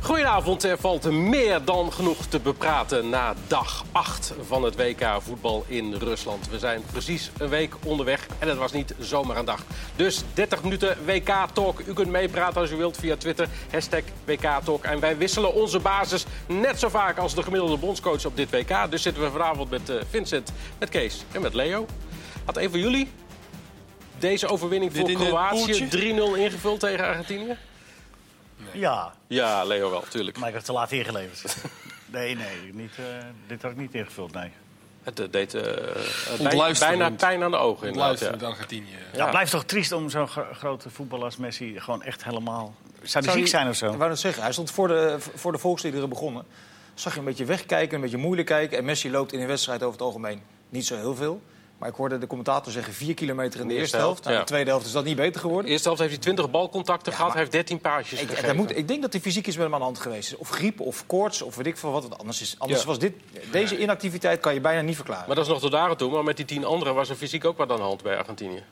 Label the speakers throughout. Speaker 1: Vanavond er valt meer dan genoeg te bepraten na dag 8 van het WK voetbal in Rusland. We zijn precies een week onderweg en het was niet zomaar een dag. Dus 30 minuten WK Talk. U kunt meepraten als u wilt via Twitter, hashtag WK Talk. En wij wisselen onze basis net zo vaak als de gemiddelde bondscoach op dit WK. Dus zitten we vanavond met eh, Vincent, met Kees en met Leo. Had een van jullie deze overwinning
Speaker 2: Dit
Speaker 1: voor
Speaker 2: in het
Speaker 1: Kroatië
Speaker 2: poeltje?
Speaker 1: 3-0 ingevuld tegen Argentinië?
Speaker 3: Ja,
Speaker 1: Ja, Leo wel, tuurlijk.
Speaker 3: maar ik had te laat ingeleverd. Nee, nee, niet, eh, dit had ik niet ingevuld, nee.
Speaker 1: Het eh, deed eh, bij,
Speaker 2: Ontluisterend.
Speaker 1: bijna pijn aan de ogen. Inderdaad, ja.
Speaker 2: Luister, ja. Argentinië.
Speaker 3: Ja, het blijft toch triest om zo'n gro- grote voetballer als Messi gewoon echt helemaal... Zou die
Speaker 4: Zou
Speaker 3: ziek
Speaker 4: die-
Speaker 3: zijn of zo?
Speaker 4: Ik wou net zeggen, hij stond voor de, voor de volksliederen begonnen. Zag je een beetje wegkijken, een beetje moeilijk kijken. En Messi loopt in een wedstrijd over het algemeen niet zo heel veel. Maar ik hoorde de commentator zeggen 4 kilometer in de eerste helft. Nou,
Speaker 1: ja.
Speaker 4: de tweede helft is dat niet beter
Speaker 1: De
Speaker 4: geworden.
Speaker 1: eerste helft heeft hij 20 balcontacten gehad. Hij heeft 13 paasjes
Speaker 4: Ik,
Speaker 1: gegeven.
Speaker 4: dat moet, ik denk dat hij fysiek iets met hem aan de hand geweest is. Of griep, of koorts, of weet ik veel wat het anders is. Anders
Speaker 1: Ja.
Speaker 4: was dit, deze inactiviteit kan je bijna niet verklaren.
Speaker 1: Maar dat is nog tot daar aan toe. Maar met die 10 anderen was er fysiek ook wat aan de hand bij Argentinië.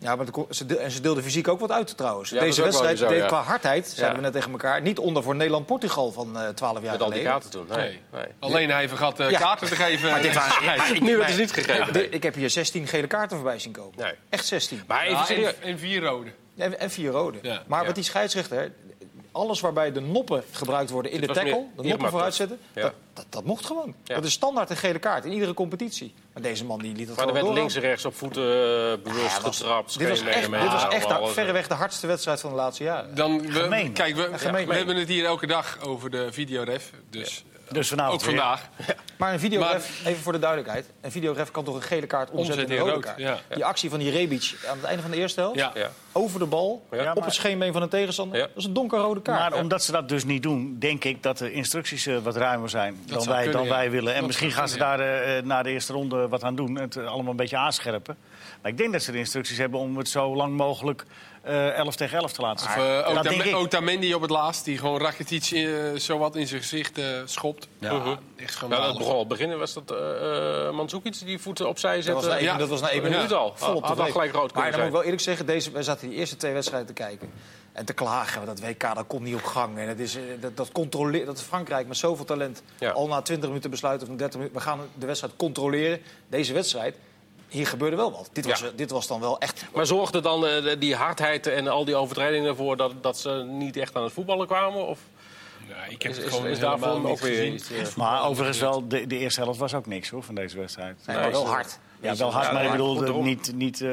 Speaker 4: Ja, maar de ko- ze deel- en ze deelden fysiek ook wat uit trouwens.
Speaker 1: Ja, dat is
Speaker 4: Deze
Speaker 1: ook wel
Speaker 4: wedstrijd
Speaker 1: bizar,
Speaker 4: deed
Speaker 1: ja.
Speaker 4: qua hardheid, zeiden
Speaker 1: Ja.
Speaker 4: we net tegen elkaar... niet onder voor Nederland-Portugal van eh 12
Speaker 1: Met
Speaker 4: jaar
Speaker 1: al die
Speaker 4: geleden.
Speaker 1: kaarten toen. Nee. nee.
Speaker 2: Alleen hij vergat eh,
Speaker 4: Ja.
Speaker 2: kaarten te geven. Maar
Speaker 4: dit waren-
Speaker 1: Nu werd het niet gegeven.
Speaker 4: De- ik heb hier 16 gele kaarten voorbij zien komen.
Speaker 1: Nee.
Speaker 4: Echt 16.
Speaker 1: Maar even serieus.
Speaker 2: en, en vier rode.
Speaker 4: En, en vier rode.
Speaker 2: Ja,
Speaker 4: maar
Speaker 2: ja.
Speaker 4: wat die scheidsrechter... Alles waarbij de noppen gebruikt worden in
Speaker 1: Dit
Speaker 4: de
Speaker 1: was
Speaker 4: tackle,
Speaker 1: meer
Speaker 4: de
Speaker 1: Irma,
Speaker 4: noppen vooruitzetten,
Speaker 1: toch? Ja.
Speaker 4: dat, dat, dat mocht gewoon.
Speaker 1: Ja.
Speaker 4: Dat is standaard een gele kaart in iedere competitie. Maar deze man die liet het
Speaker 1: Maar er
Speaker 4: gewoon
Speaker 1: werd
Speaker 4: door.
Speaker 1: links en rechts op voeten eh, bewust
Speaker 4: Ja, was-
Speaker 1: getrapt.
Speaker 4: Dit was
Speaker 1: schenen
Speaker 4: echt,
Speaker 1: mee,
Speaker 4: dit was
Speaker 1: allemaal
Speaker 4: echt nou de-
Speaker 1: alles.
Speaker 4: verreweg de hardste wedstrijd van de laatste jaren.
Speaker 2: Dan, we-
Speaker 3: Gemeen.
Speaker 2: Kijk, we,
Speaker 4: gemeen.
Speaker 2: we hebben het hier elke dag over de videoref. Dus
Speaker 3: Dus vanavond
Speaker 2: ook vandaag.
Speaker 4: Maar een videoref, even voor de duidelijkheid... een videoref kan toch een gele kaart omzetten
Speaker 2: Omzetten
Speaker 4: in een
Speaker 2: in
Speaker 4: rode
Speaker 2: rood,
Speaker 4: kaart?
Speaker 2: ja.
Speaker 4: Die actie van die Rebic aan het einde van de eerste helft...
Speaker 2: Ja.
Speaker 1: Ja.
Speaker 4: over de bal,
Speaker 1: Ja,
Speaker 4: op
Speaker 3: maar-
Speaker 4: het scheenbeen van een tegenstander...
Speaker 1: Ja.
Speaker 4: dat is een donkerrode kaart.
Speaker 3: Maar omdat ze dat dus niet doen, denk ik dat de instructies eh, wat ruimer zijn dan,
Speaker 2: zou
Speaker 3: wij,
Speaker 2: kunnen,
Speaker 3: dan
Speaker 2: ja.
Speaker 3: wij willen. En
Speaker 2: Dat
Speaker 3: misschien
Speaker 2: zou
Speaker 3: gaan ze
Speaker 2: kunnen,
Speaker 3: daar eh, na de eerste ronde wat aan doen. Het eh, allemaal een beetje aanscherpen. Maar ik denk dat ze de instructies hebben om het zo lang mogelijk eh 11 tegen 11 te laten
Speaker 2: Of
Speaker 3: staan.
Speaker 2: eh,
Speaker 3: dat
Speaker 2: Otame-
Speaker 3: denk ik.
Speaker 2: Otamendi op het laatst, die gewoon Rakitic eh, zowat in zijn gezicht eh, schopt. Ja, echt
Speaker 1: Ja, dat
Speaker 2: schandalig.
Speaker 1: begon al beginnen was dat eh eh, Mandzukic die voeten opzij
Speaker 4: Dat was,
Speaker 1: zette.
Speaker 4: na één-
Speaker 2: ja.
Speaker 4: dat was na één
Speaker 1: Een
Speaker 4: minuut
Speaker 1: minuut al.
Speaker 4: Volop
Speaker 1: Had dan
Speaker 4: te weten.
Speaker 1: gelijk rood
Speaker 4: Maar
Speaker 1: kunnen
Speaker 4: dan moet ik
Speaker 1: zijn.
Speaker 4: wel eerlijk zeggen, deze, wij zaten die eerste twee wedstrijden te kijken. En te klagen, want dat WK dat komt niet op gang. En dat, is, eh, dat, dat, controleert, dat Frankrijk met zoveel talent
Speaker 1: Ja.
Speaker 4: al na 20 minuten besluit... of na 30 minuten, we gaan de wedstrijd controleren. Deze wedstrijd, hier gebeurde wel wat. Dit was, eh,
Speaker 1: Ja.
Speaker 4: dit was dan wel echt...
Speaker 1: Maar zorgde dan eh, die hardheid en al die overtredingen ervoor dat, dat ze niet echt aan het voetballen kwamen? Of
Speaker 2: Nou, ik heb
Speaker 1: is,
Speaker 2: het
Speaker 1: is,
Speaker 2: gewoon
Speaker 1: is
Speaker 2: helemaal
Speaker 1: daarvan
Speaker 2: niet
Speaker 1: ook weer
Speaker 2: gezien.
Speaker 1: iets? eh,
Speaker 3: Maar overigens wel, de, de eerste helft was ook niks hoor, van deze wedstrijd.
Speaker 4: Nee, maar wel hard.
Speaker 3: Ja, wel hard, maar ik
Speaker 4: goed,
Speaker 3: bedoel, eh,
Speaker 4: daarom.
Speaker 3: niet... niet eh,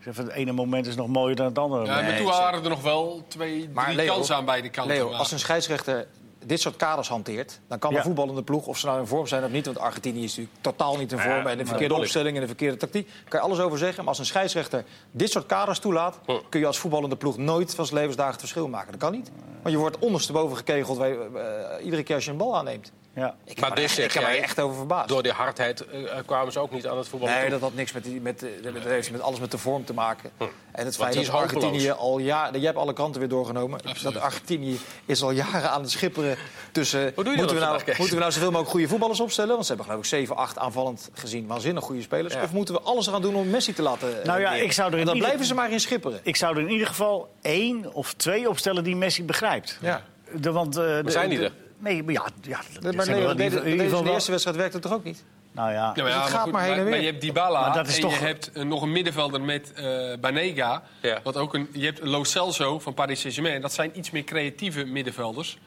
Speaker 3: zeg van, het ene moment is nog mooier dan het andere.
Speaker 2: Ja, maar toen waren er nog wel twee,
Speaker 4: Maar
Speaker 2: drie
Speaker 4: Leo-
Speaker 2: kansen aan beide kanten.
Speaker 4: Leo,
Speaker 2: Maar-
Speaker 4: als een scheidsrechter dit soort kaders hanteert... dan kan een
Speaker 3: Ja.
Speaker 4: voetballende ploeg, of ze nou in vorm zijn of niet... want Argentinië is natuurlijk totaal niet in vorm... en de verkeerde
Speaker 1: bedoel ik.
Speaker 4: opstelling en de verkeerde tactiek... kan je alles over zeggen. Maar als een scheidsrechter dit soort kaders toelaat... kun je als voetballende ploeg nooit van zijn levensdagen het verschil maken. Dat kan niet. Want je wordt ondersteboven gekegeld bij, eh, iedere keer als je een bal aanneemt.
Speaker 3: Ja.
Speaker 4: Ik
Speaker 1: Maar
Speaker 4: heb
Speaker 1: dit
Speaker 4: me echt-
Speaker 1: zeg
Speaker 4: ik heb me
Speaker 1: jij-
Speaker 4: echt over verbaasd.
Speaker 1: Door die hardheid eh, eh, kwamen ze ook niet aan het voetballen
Speaker 4: Nee,
Speaker 1: toe.
Speaker 4: dat had niks met, die, met, eh, dat heeft met alles met de vorm te maken. En het feit
Speaker 1: die
Speaker 4: dat
Speaker 1: is
Speaker 4: Argentinië
Speaker 1: hopeloos.
Speaker 4: al jaren... Jij hebt alle kranten weer doorgenomen. Dat Argentinië is al jaren aan het schipperen tussen...
Speaker 1: dat
Speaker 4: moeten, we nou,
Speaker 1: vandaag, Kees?
Speaker 4: moeten we nou zoveel mogelijk goede voetballers opstellen? Want ze hebben geloof ik 7, 8 aanvallend gezien waanzinnig goede spelers. Of moeten we alles eraan doen om Messi te laten... eh,
Speaker 3: Nou ja,
Speaker 4: leren?
Speaker 3: ik zou er in
Speaker 4: Want dan
Speaker 3: ieder-
Speaker 4: blijven ze maar in schipperen.
Speaker 3: Ik zou er in ieder geval één of twee opstellen die Messi begrijpt.
Speaker 4: Ja.
Speaker 3: De, want, eh, de-
Speaker 1: zijn die
Speaker 3: de-
Speaker 1: er?
Speaker 3: Nee, maar ja, ja dat- dat
Speaker 4: Maar
Speaker 3: zijn
Speaker 4: nee,
Speaker 3: wel
Speaker 4: dat
Speaker 3: in
Speaker 4: deden-
Speaker 3: ieder-
Speaker 4: dat
Speaker 3: in ieder
Speaker 4: deden ze
Speaker 3: geval
Speaker 4: in de
Speaker 3: wel-
Speaker 4: eerste wedstrijd werkte het toch ook niet?
Speaker 3: Nou ja,
Speaker 2: Ja, maar,
Speaker 4: Dus
Speaker 2: ja,
Speaker 4: het
Speaker 2: maar
Speaker 4: gaat
Speaker 2: goed,
Speaker 4: maar heen en weer.
Speaker 2: Maar je hebt Dybala
Speaker 3: Maar dat is
Speaker 2: en
Speaker 3: toch-
Speaker 2: je hebt eh, nog een middenvelder met eh Banega.
Speaker 1: Ja.
Speaker 2: Wat ook een, je hebt Lo Celso van Paris Saint-Germain. Dat zijn iets meer creatieve middenvelders.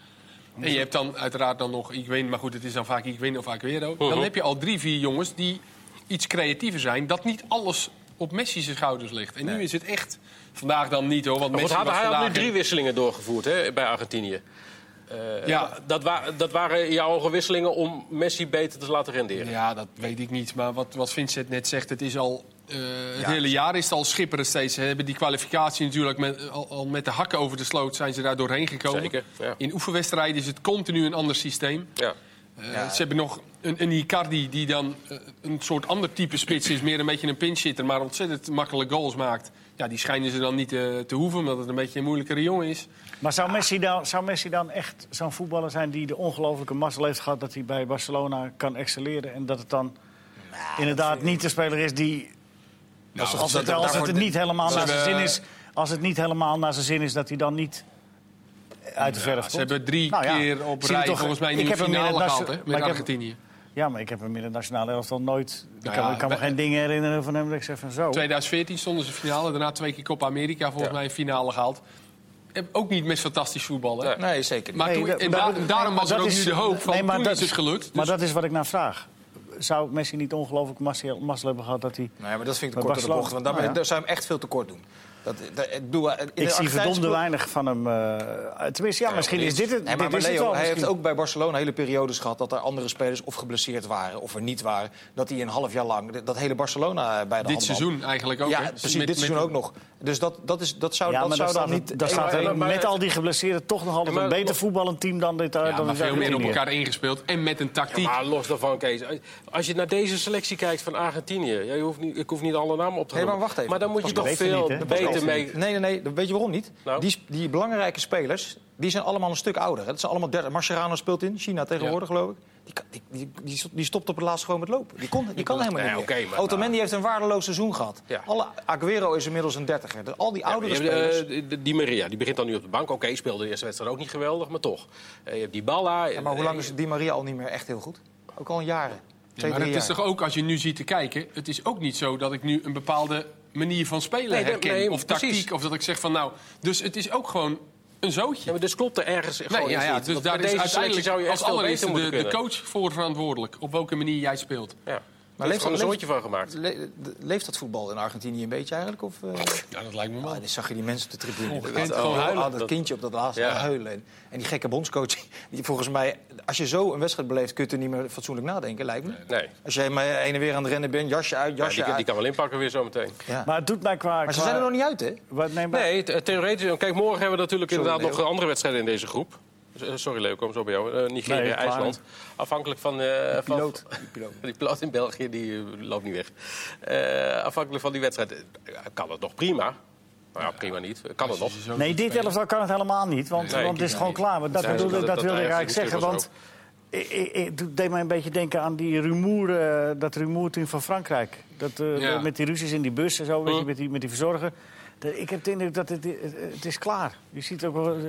Speaker 2: En je hebt dan uiteraard dan nog Iguain. Maar goed, het is dan vaak Iguain of Aguero.
Speaker 1: Uh-huh.
Speaker 2: Dan heb je al drie, vier jongens die iets creatiever zijn. Dat niet alles op Messi's schouders ligt. En nu is het echt... Vandaag dan niet hoor, want
Speaker 1: Maar goed,
Speaker 2: Messi was
Speaker 1: hij had nu
Speaker 2: vandaag...
Speaker 1: drie wisselingen doorgevoerd hè, bij Argentinië. Ah,
Speaker 2: ja,
Speaker 1: Dat, wa- dat waren in jouw ogen wisselingen om Messi beter te laten renderen.
Speaker 2: Ja, dat weet ik niet. Maar wat, wat Vincent net zegt, het is al. eh, het hele jaar is het al schipperen steeds. Ze hebben die kwalificatie natuurlijk met, al, al met de hakken over de sloot zijn ze daar doorheen gekomen.
Speaker 1: Zeker, ja.
Speaker 2: In oefenwedstrijden is het continu een ander systeem.
Speaker 1: Ja.
Speaker 2: Eh, Ze hebben nog een, een Icardi die dan eh, een soort ander type spits is. Meer een beetje een pinchitter, maar ontzettend makkelijke goals maakt. Ja, die schijnen ze dan niet eh, te hoeven, omdat het een beetje een moeilijkere jongen is.
Speaker 3: maar zou Messi, dan, zou Messi dan echt zo'n voetballer zijn die de ongelofelijke mazzel heeft gehad dat hij bij Barcelona kan excelleren en dat het dan
Speaker 2: Nou,
Speaker 3: inderdaad niet de speler is die als, als het, als het
Speaker 4: daarvoor-
Speaker 3: niet helemaal naar zijn
Speaker 2: hebben-
Speaker 3: zin is, als het niet helemaal naar zijn zin is, dat hij dan niet uit de verf
Speaker 2: Ze
Speaker 3: komt.
Speaker 2: hebben drie
Speaker 3: Nou ja,
Speaker 2: keer op
Speaker 3: zie je
Speaker 2: rij
Speaker 3: toch-
Speaker 2: volgens mij
Speaker 3: ik
Speaker 2: nu een
Speaker 3: heb hem in het
Speaker 2: finale
Speaker 3: nation-
Speaker 2: gehaald hè,
Speaker 3: maar
Speaker 2: met
Speaker 3: ik heb-
Speaker 2: Argentinië.
Speaker 3: Ja, maar ik heb hem in het nationale elftal nooit...
Speaker 2: Nou
Speaker 3: ik kan,
Speaker 2: ja,
Speaker 3: ik kan me
Speaker 2: bij-
Speaker 3: geen dingen herinneren van hem dat ik zeg van zo.
Speaker 2: 2014 stonden ze finale, daarna twee keer Copa America volgens mij finale gehaald. Heb ook niet met fantastisch voetbal. Hè?
Speaker 1: Nee.
Speaker 4: Nee, zeker niet.
Speaker 2: Maar Ah, toen-
Speaker 3: Nee,
Speaker 2: en da-
Speaker 3: da- da-
Speaker 2: daarom was
Speaker 3: dat
Speaker 2: er ook nu de hoop van
Speaker 3: nee, maar
Speaker 2: toen
Speaker 3: dat
Speaker 2: is het gelukt. Dus
Speaker 3: Maar dat is wat ik naar vraag. Zou Messi niet ongelooflijk mazzel mazzel hebben gehad dat hij...
Speaker 4: Nee, maar dat vind ik
Speaker 3: Maar
Speaker 4: te kort door de
Speaker 3: Barcelona-
Speaker 4: bocht. Want daar,
Speaker 3: nou ja.
Speaker 4: daar zou je hem echt veel tekort doen. Dat, dat, ik bedoel, eh, in
Speaker 3: Ik
Speaker 4: de
Speaker 3: zie
Speaker 4: Argentijnse
Speaker 3: verdomde
Speaker 4: ploeg-
Speaker 3: weinig van hem. eh, tenminste, ja, misschien is dit het.
Speaker 4: Nee, maar
Speaker 3: dit is
Speaker 4: Leo,
Speaker 3: het wel,
Speaker 4: hij heeft
Speaker 3: misschien.
Speaker 4: ook bij Barcelona hele periodes gehad... dat er andere spelers of geblesseerd waren of er niet waren. Dat hij een half jaar lang dat hele Barcelona eh, bij de
Speaker 2: dit
Speaker 4: hand had.
Speaker 2: seizoen eigenlijk ook.
Speaker 4: Ja,
Speaker 2: hè?
Speaker 4: precies,
Speaker 2: Met-
Speaker 4: dit seizoen
Speaker 2: met-
Speaker 4: ook nog. Dus dat, dat, is, dat zou,
Speaker 3: Ja,
Speaker 4: dat
Speaker 3: maar
Speaker 4: zou
Speaker 3: daar
Speaker 4: dan
Speaker 3: staat,
Speaker 4: niet...
Speaker 3: niet, daar staat
Speaker 1: maar-
Speaker 3: er
Speaker 1: maar-
Speaker 3: met al die geblesseerden toch nog altijd
Speaker 1: Ja,
Speaker 3: een
Speaker 1: maar-
Speaker 3: beter voetballend team dan dit. eh,
Speaker 2: Ja,
Speaker 3: dan
Speaker 2: maar
Speaker 3: dit
Speaker 2: veel meer op
Speaker 3: Argentinië.
Speaker 2: elkaar ingespeeld en met een tactiek.
Speaker 1: Maar los daarvan, Kees. eh, Als je naar deze selectie kijkt van Argentinië... ja, je hoeft niet, ik hoef niet alle namen op te
Speaker 4: Nee,
Speaker 1: noemen.
Speaker 4: maar wacht even.
Speaker 1: Maar dan moet je
Speaker 3: Dat
Speaker 1: toch
Speaker 3: weet je
Speaker 1: veel
Speaker 3: niet, hè? Dat
Speaker 1: beter
Speaker 3: weet je
Speaker 1: mee...
Speaker 4: Nee, nee, nee. Weet je waarom niet?
Speaker 1: Nou?
Speaker 4: Die, sp- die belangrijke spelers die zijn allemaal een stuk ouder. Hè. Dat zijn allemaal dertig. Mascherano speelt in China tegenwoordig, geloof ik. Die, kan- die, die, die sto- die stopt op het laatst gewoon met lopen. Die, kon, die kan helemaal
Speaker 1: Nee,
Speaker 4: niet
Speaker 1: oké,
Speaker 4: meer.
Speaker 1: maar-
Speaker 4: Otamendi heeft een waardeloos seizoen gehad.
Speaker 1: Ja.
Speaker 4: Alle, Aguero is inmiddels een dertiger. Dus al die
Speaker 1: Ja, maar
Speaker 4: oudere
Speaker 1: je hebt,
Speaker 4: spelers...
Speaker 1: eh, die- die Maria, die begint dan nu op de bank. Oké, speelde de eerste wedstrijd ook niet geweldig, maar toch. Eh, je hebt die Balla. eh,
Speaker 4: Ja, maar hoe lang is Di Maria al niet meer echt heel goed? Ook al jaren. Twee,
Speaker 2: maar
Speaker 4: drie
Speaker 2: het is
Speaker 4: jaar.
Speaker 2: toch ook, als je nu ziet te kijken... het is ook niet zo dat ik nu een bepaalde manier van spelen
Speaker 1: Nee, dat-
Speaker 2: herken.
Speaker 1: nee,
Speaker 2: of
Speaker 1: precies.
Speaker 2: tactiek, of dat ik zeg van nou... Dus het is ook gewoon een zootje.
Speaker 1: Ja, maar dus klopt er ergens
Speaker 2: Nee,
Speaker 1: gewoon
Speaker 2: ja,
Speaker 1: iets
Speaker 2: ja,
Speaker 1: niet.
Speaker 2: dus
Speaker 1: Want
Speaker 2: daar
Speaker 1: met
Speaker 2: is
Speaker 1: deze
Speaker 2: uiteindelijk
Speaker 1: selectie zou je
Speaker 2: als
Speaker 1: echt veel beter
Speaker 2: allereerste
Speaker 1: moeten
Speaker 2: de, de
Speaker 1: kunnen.
Speaker 2: coach voor verantwoordelijk. Op welke manier jij speelt.
Speaker 1: Ja.
Speaker 4: Maar
Speaker 1: Maar heeft
Speaker 4: leeft
Speaker 1: er een
Speaker 4: dat-
Speaker 1: zoontje van gemaakt.
Speaker 4: Le- de- leeft dat voetbal in Argentinië een beetje eigenlijk? Of, eh?
Speaker 2: Ja, dat lijkt me
Speaker 4: Ah,
Speaker 2: wel.
Speaker 4: dan zag je die mensen op de tribune.
Speaker 2: Ongekend,
Speaker 4: Oh,
Speaker 2: gewoon
Speaker 4: oh,
Speaker 2: huilen.
Speaker 4: oh, dat kindje op dat laatste
Speaker 1: Ja.
Speaker 4: huilen. En, en die gekke bondscoach. Die volgens mij, als je zo een wedstrijd beleeft, kun je er niet meer fatsoenlijk nadenken, lijkt me.
Speaker 1: Nee,
Speaker 4: Als jij maar heen en weer aan het rennen bent, jasje uit,
Speaker 1: Ja,
Speaker 4: jasje
Speaker 1: die, die
Speaker 4: uit.
Speaker 1: kan wel inpakken weer zometeen.
Speaker 4: Ja. Maar,
Speaker 3: Maar het doet mij qua...
Speaker 4: ze zijn er nog niet uit, hè?
Speaker 3: Wat, nee, maar,
Speaker 1: Nee, th- theoretisch. want Kijk, morgen hebben we natuurlijk
Speaker 4: Nou- Sorry,
Speaker 1: inderdaad
Speaker 4: Leo.
Speaker 1: nog andere wedstrijden in deze groep. Z- eh, Sorry Leo, ik kom zo bij jou. Eh, Nigeria,
Speaker 3: Nee, klaar.
Speaker 1: IJsland. Afhankelijk van... eh, van
Speaker 4: Piloot. Die piloot.
Speaker 1: Die piloot in België, die eh, loopt niet weg. Eh, afhankelijk van die wedstrijd. eh, Kan het nog prima? Nou ja, prima niet. Kan het nog?
Speaker 2: Zo-
Speaker 3: nee, dit elftal kan het helemaal niet, want,
Speaker 1: Nee,
Speaker 3: want het is gewoon klaar. Maar dat,
Speaker 1: Nee,
Speaker 3: bedoelde,
Speaker 1: dat-
Speaker 3: dat,
Speaker 1: dat-
Speaker 3: wilde
Speaker 1: dat
Speaker 3: ik eigenlijk
Speaker 1: eigenlijk
Speaker 3: zeggen, want... Ik, ik- ik- het deed mij een beetje denken aan die rumoer, eh, dat rumoerteam van Frankrijk. Dat, eh,
Speaker 2: Ja.
Speaker 3: Met die ruzies in die bus en zo, weet je,
Speaker 1: Hm.
Speaker 3: met, die, met die verzorger. Dat- ik heb de indruk dat het, het, het is klaar. Je ziet ook wel... eh,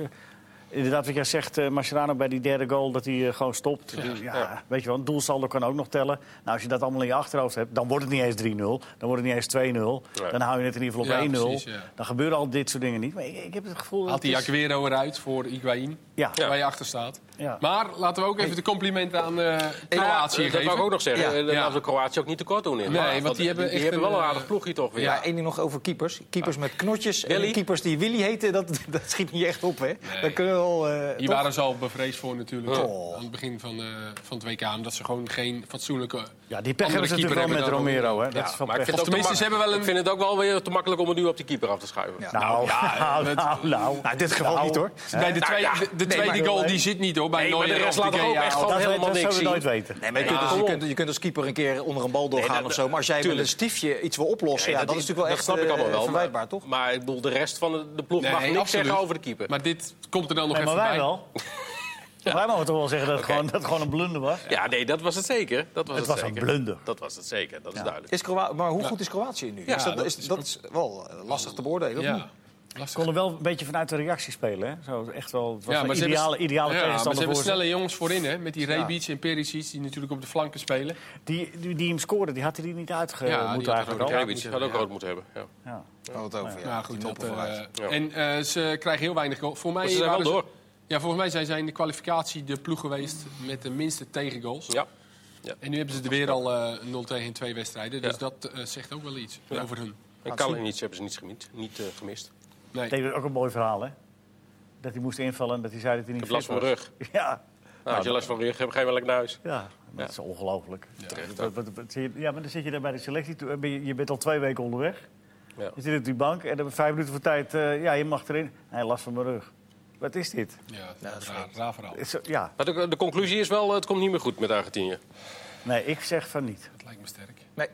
Speaker 3: Inderdaad, wat jij zegt, eh Mascherano bij die derde goal, dat hij eh, gewoon stopt. Ja, Weet je wel, een doelsaldo kan ook nog tellen. Nou, als je dat allemaal in je achterhoofd hebt, dan wordt het niet eens 3-0. Dan wordt het niet eens 2-0.
Speaker 1: Nee.
Speaker 3: Dan hou je het in ieder geval op
Speaker 2: Ja,
Speaker 3: 1-0.
Speaker 2: precies, ja.
Speaker 3: Dan gebeuren al dit soort dingen niet. Maar ik, ik heb het gevoel...
Speaker 2: Haalt
Speaker 3: dat
Speaker 2: die
Speaker 3: het is-
Speaker 2: Aguero eruit voor Higuaín,
Speaker 3: Ja.
Speaker 2: waar je achter staat.
Speaker 3: Ja.
Speaker 2: Maar laten we ook even de complimenten aan eh Kroatië
Speaker 1: Kroatië, dat
Speaker 2: geven.
Speaker 1: wou ik ook nog zeggen.
Speaker 4: Ja.
Speaker 1: Eh, Daar
Speaker 2: Ja.
Speaker 1: laten we Kroatië ook niet tekort doen in.
Speaker 2: Nee,
Speaker 1: Maar,
Speaker 2: want die hebben echt
Speaker 1: wel
Speaker 2: een,
Speaker 1: een
Speaker 2: eh,
Speaker 1: aardig ploeg hier toch weer.
Speaker 4: Ja, één ding nog over keepers. Keepers met knotjes
Speaker 1: Ah. Willy.
Speaker 4: en keepers die Willy heten, dat, dat schiet niet echt op, hè? Dan kunnen we al... eh,
Speaker 2: Hier
Speaker 4: toch?
Speaker 2: waren ze al bevreesd voor natuurlijk.
Speaker 4: Oh.
Speaker 2: Aan het begin van, eh, van het WK. Omdat ze gewoon geen fatsoenlijke
Speaker 3: Ja, die pech
Speaker 2: andere
Speaker 3: hebben ze
Speaker 2: keeper
Speaker 3: natuurlijk wel met
Speaker 2: hebben dan
Speaker 3: Romero. Hè?
Speaker 2: ook.
Speaker 3: Dat is wel
Speaker 1: Maar ik
Speaker 3: pech.
Speaker 1: vind, het
Speaker 2: Of
Speaker 1: ook te
Speaker 2: tenminste, ze
Speaker 1: mak-
Speaker 2: hebben wel een-
Speaker 1: ik vind het ook wel weer te makkelijk om het nu op de keeper af te schuiven.
Speaker 3: Nou, nou,
Speaker 2: met-
Speaker 3: nou, nou.
Speaker 4: Nou, in dit geval
Speaker 3: Nou,
Speaker 4: niet, hoor.
Speaker 2: Bij de,
Speaker 1: Nou
Speaker 2: tweede-
Speaker 1: ja,
Speaker 2: de- de
Speaker 1: nee,
Speaker 2: tweede
Speaker 1: maar-
Speaker 2: goal die zit niet hoor. Bij
Speaker 1: Nee, maar de
Speaker 2: Neuer
Speaker 1: rest
Speaker 2: of
Speaker 1: laat
Speaker 2: de
Speaker 1: toch ook echt
Speaker 2: Gea.
Speaker 1: gewoon
Speaker 3: Dat, weet-
Speaker 1: helemaal
Speaker 3: dat
Speaker 1: niks
Speaker 3: zullen we
Speaker 1: zien.
Speaker 3: nooit weten.
Speaker 4: Nee, maar je,
Speaker 1: Ja.
Speaker 4: kunt, dus- je,
Speaker 1: Kom op.
Speaker 4: kunt, je kunt als keeper een keer onder een bal doorgaan
Speaker 1: dat-
Speaker 4: of zo. Maar als jij
Speaker 1: tuurlijk.
Speaker 4: met een stiefje iets wil oplossen, ja, dat is natuurlijk wel echt
Speaker 1: snap ik
Speaker 4: eh,
Speaker 1: allemaal wel.
Speaker 4: verwijtbaar,
Speaker 1: maar,
Speaker 4: toch?
Speaker 1: Maar ik bedoel, de rest van de, de ploeg
Speaker 2: Nee,
Speaker 1: mag niks
Speaker 2: absoluut.
Speaker 1: zeggen over de keeper.
Speaker 2: Maar dit komt er dan nog
Speaker 3: Nee, maar
Speaker 2: even
Speaker 3: wij
Speaker 2: bij.
Speaker 3: wel. Wij mogen toch wel zeggen dat het, gewoon, dat het gewoon een blunder was.
Speaker 1: ja, nee, dat was het zeker. Dat was
Speaker 3: Het
Speaker 1: het,
Speaker 3: was een
Speaker 1: zeker.
Speaker 3: blunder.
Speaker 1: Dat was het zeker, dat is duidelijk.
Speaker 4: Is Kroa- maar hoe goed is Kroatië nu?
Speaker 1: Ja,
Speaker 4: is dat,
Speaker 1: dat
Speaker 4: is, dat is wel eh, lastig te beoordelen. of niet?
Speaker 2: Ja.
Speaker 3: Ze
Speaker 2: Lastig.
Speaker 3: konden wel een beetje vanuit de reactie spelen. Hè? Zo, echt wel, het was
Speaker 2: Ja,
Speaker 3: een
Speaker 2: maar ze
Speaker 3: ideale,
Speaker 2: hebben, ja,
Speaker 3: ideale
Speaker 2: maar ze
Speaker 3: tegenstander
Speaker 2: hebben
Speaker 3: voor ze.
Speaker 2: snelle jongens voorin, hè? Met die Rebic en Perisic, die natuurlijk op de flanken spelen.
Speaker 3: Die, die, die hem scoorde, die had hij er niet uit
Speaker 2: Ja, die had
Speaker 3: moeten eigenlijk
Speaker 2: er
Speaker 3: al.
Speaker 2: ook-
Speaker 1: Rebic had ook rood moeten hebben. Ja.
Speaker 3: Ja.
Speaker 4: Daar hadden we het over. Ja,
Speaker 2: Nou
Speaker 4: Die
Speaker 2: goed, dat,
Speaker 4: toppen vooruit.
Speaker 2: eh,
Speaker 1: Ja.
Speaker 2: En eh, ze krijgen heel weinig goals. Voor mij
Speaker 1: Maar ze zijn wel
Speaker 2: waren
Speaker 1: door.
Speaker 2: Ja, volgens mij zijn zij in de kwalificatie de ploeg geweest met de minste tegengoals.
Speaker 1: Ja.
Speaker 2: En nu hebben ze er weer al eh 0 tegen 2 wedstrijden. Dus
Speaker 1: Ja.
Speaker 2: dat eh, zegt ook wel iets over hun.
Speaker 1: En Kalinic hebben ze niet gemist. Niet, eh, gemist. Ik
Speaker 2: Nee.
Speaker 3: Dat is ook een mooi verhaal, hè? Dat hij moest invallen en dat hij zei dat hij niet
Speaker 1: heb last
Speaker 3: fit
Speaker 1: van mijn
Speaker 3: was.
Speaker 1: rug.
Speaker 3: Ja,
Speaker 1: Nou, als je last van je rug hebt, ga je wel lekker naar huis.
Speaker 3: ja. dat
Speaker 1: Ja.
Speaker 3: is ongelooflijk.
Speaker 1: Terecht
Speaker 3: Wat- wat- wat zie je- Ja, maar dan zit je daar bij de selectie. Toen ben Je je bent al twee weken onderweg.
Speaker 1: Ja.
Speaker 3: Je zit op die bank en dan vijf minuten voor tijd. eh, ja, je mag erin. Hij last van mijn rug. Wat is dit?
Speaker 2: Ja, dat is raar, raar verhaal.
Speaker 3: Is- Ja,
Speaker 1: Maar de, de conclusie is wel, eh, het komt niet meer goed met Argentinië.
Speaker 3: nee, ik zeg van niet.
Speaker 2: Dat lijkt me sterk.
Speaker 4: Nee,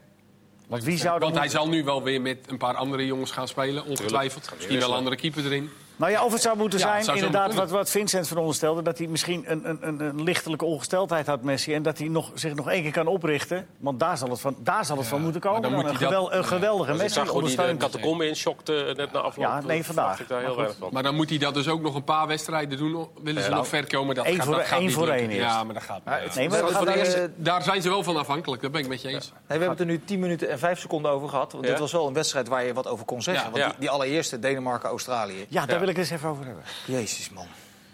Speaker 3: Want wie zou
Speaker 2: Want
Speaker 3: dan...
Speaker 2: hij zal nu wel weer met een paar andere jongens gaan spelen, ongetwijfeld. Misschien wel een andere keeper erin.
Speaker 3: Nou ja, of het zou moeten
Speaker 2: Ja,
Speaker 3: zijn,
Speaker 2: het zou zo
Speaker 3: inderdaad,
Speaker 2: moeten
Speaker 3: wat, wat Vincent van onderstelde... dat hij misschien een, een, een, een lichtelijke ongesteldheid had, Messi... en dat hij nog, zich nog één keer kan oprichten. Want daar zal het van, daar zal het van moeten komen.
Speaker 2: maar dan moet
Speaker 3: een,
Speaker 2: hij dat-
Speaker 3: gewel- een geweldige
Speaker 1: Dus ik
Speaker 3: Messi
Speaker 1: zag gewoon die de
Speaker 3: ondersteund.
Speaker 1: catacombe in schokte net na afloop.
Speaker 3: Ja, nee,
Speaker 1: Dat
Speaker 3: vandaag.
Speaker 1: verwacht Ik daar heel
Speaker 3: Maar goed.
Speaker 1: weinig van.
Speaker 2: Maar dan moet hij dat dus ook nog een paar wedstrijden doen. Willen ze
Speaker 1: nou,
Speaker 2: nog ver komen? Dat
Speaker 3: één
Speaker 2: gaat,
Speaker 3: voor-
Speaker 2: dat gaat
Speaker 3: één
Speaker 2: niet
Speaker 3: voor
Speaker 2: lukken.
Speaker 3: één eerst.
Speaker 2: Ja, maar eh, dat gaat niet.
Speaker 4: het-
Speaker 3: Nee, maar
Speaker 4: we,
Speaker 3: we gaan
Speaker 4: gaan
Speaker 3: daar,
Speaker 4: eerst-
Speaker 3: eh,
Speaker 4: nee,
Speaker 2: Daar zijn ze wel van afhankelijk, dat ben ik met je eens.
Speaker 4: we hebben het er nu 10 minuten en 5 seconden over gehad. Want
Speaker 1: Ja.
Speaker 4: dit was wel een wedstrijd waar je wat over kon zeggen.
Speaker 2: Ja.
Speaker 4: want
Speaker 1: Ja.
Speaker 4: Die, die allereerste, Denemarken-Australië.
Speaker 3: Ja, daar
Speaker 1: Ja.
Speaker 3: wil ik het eens even over hebben.
Speaker 4: Jezus, man.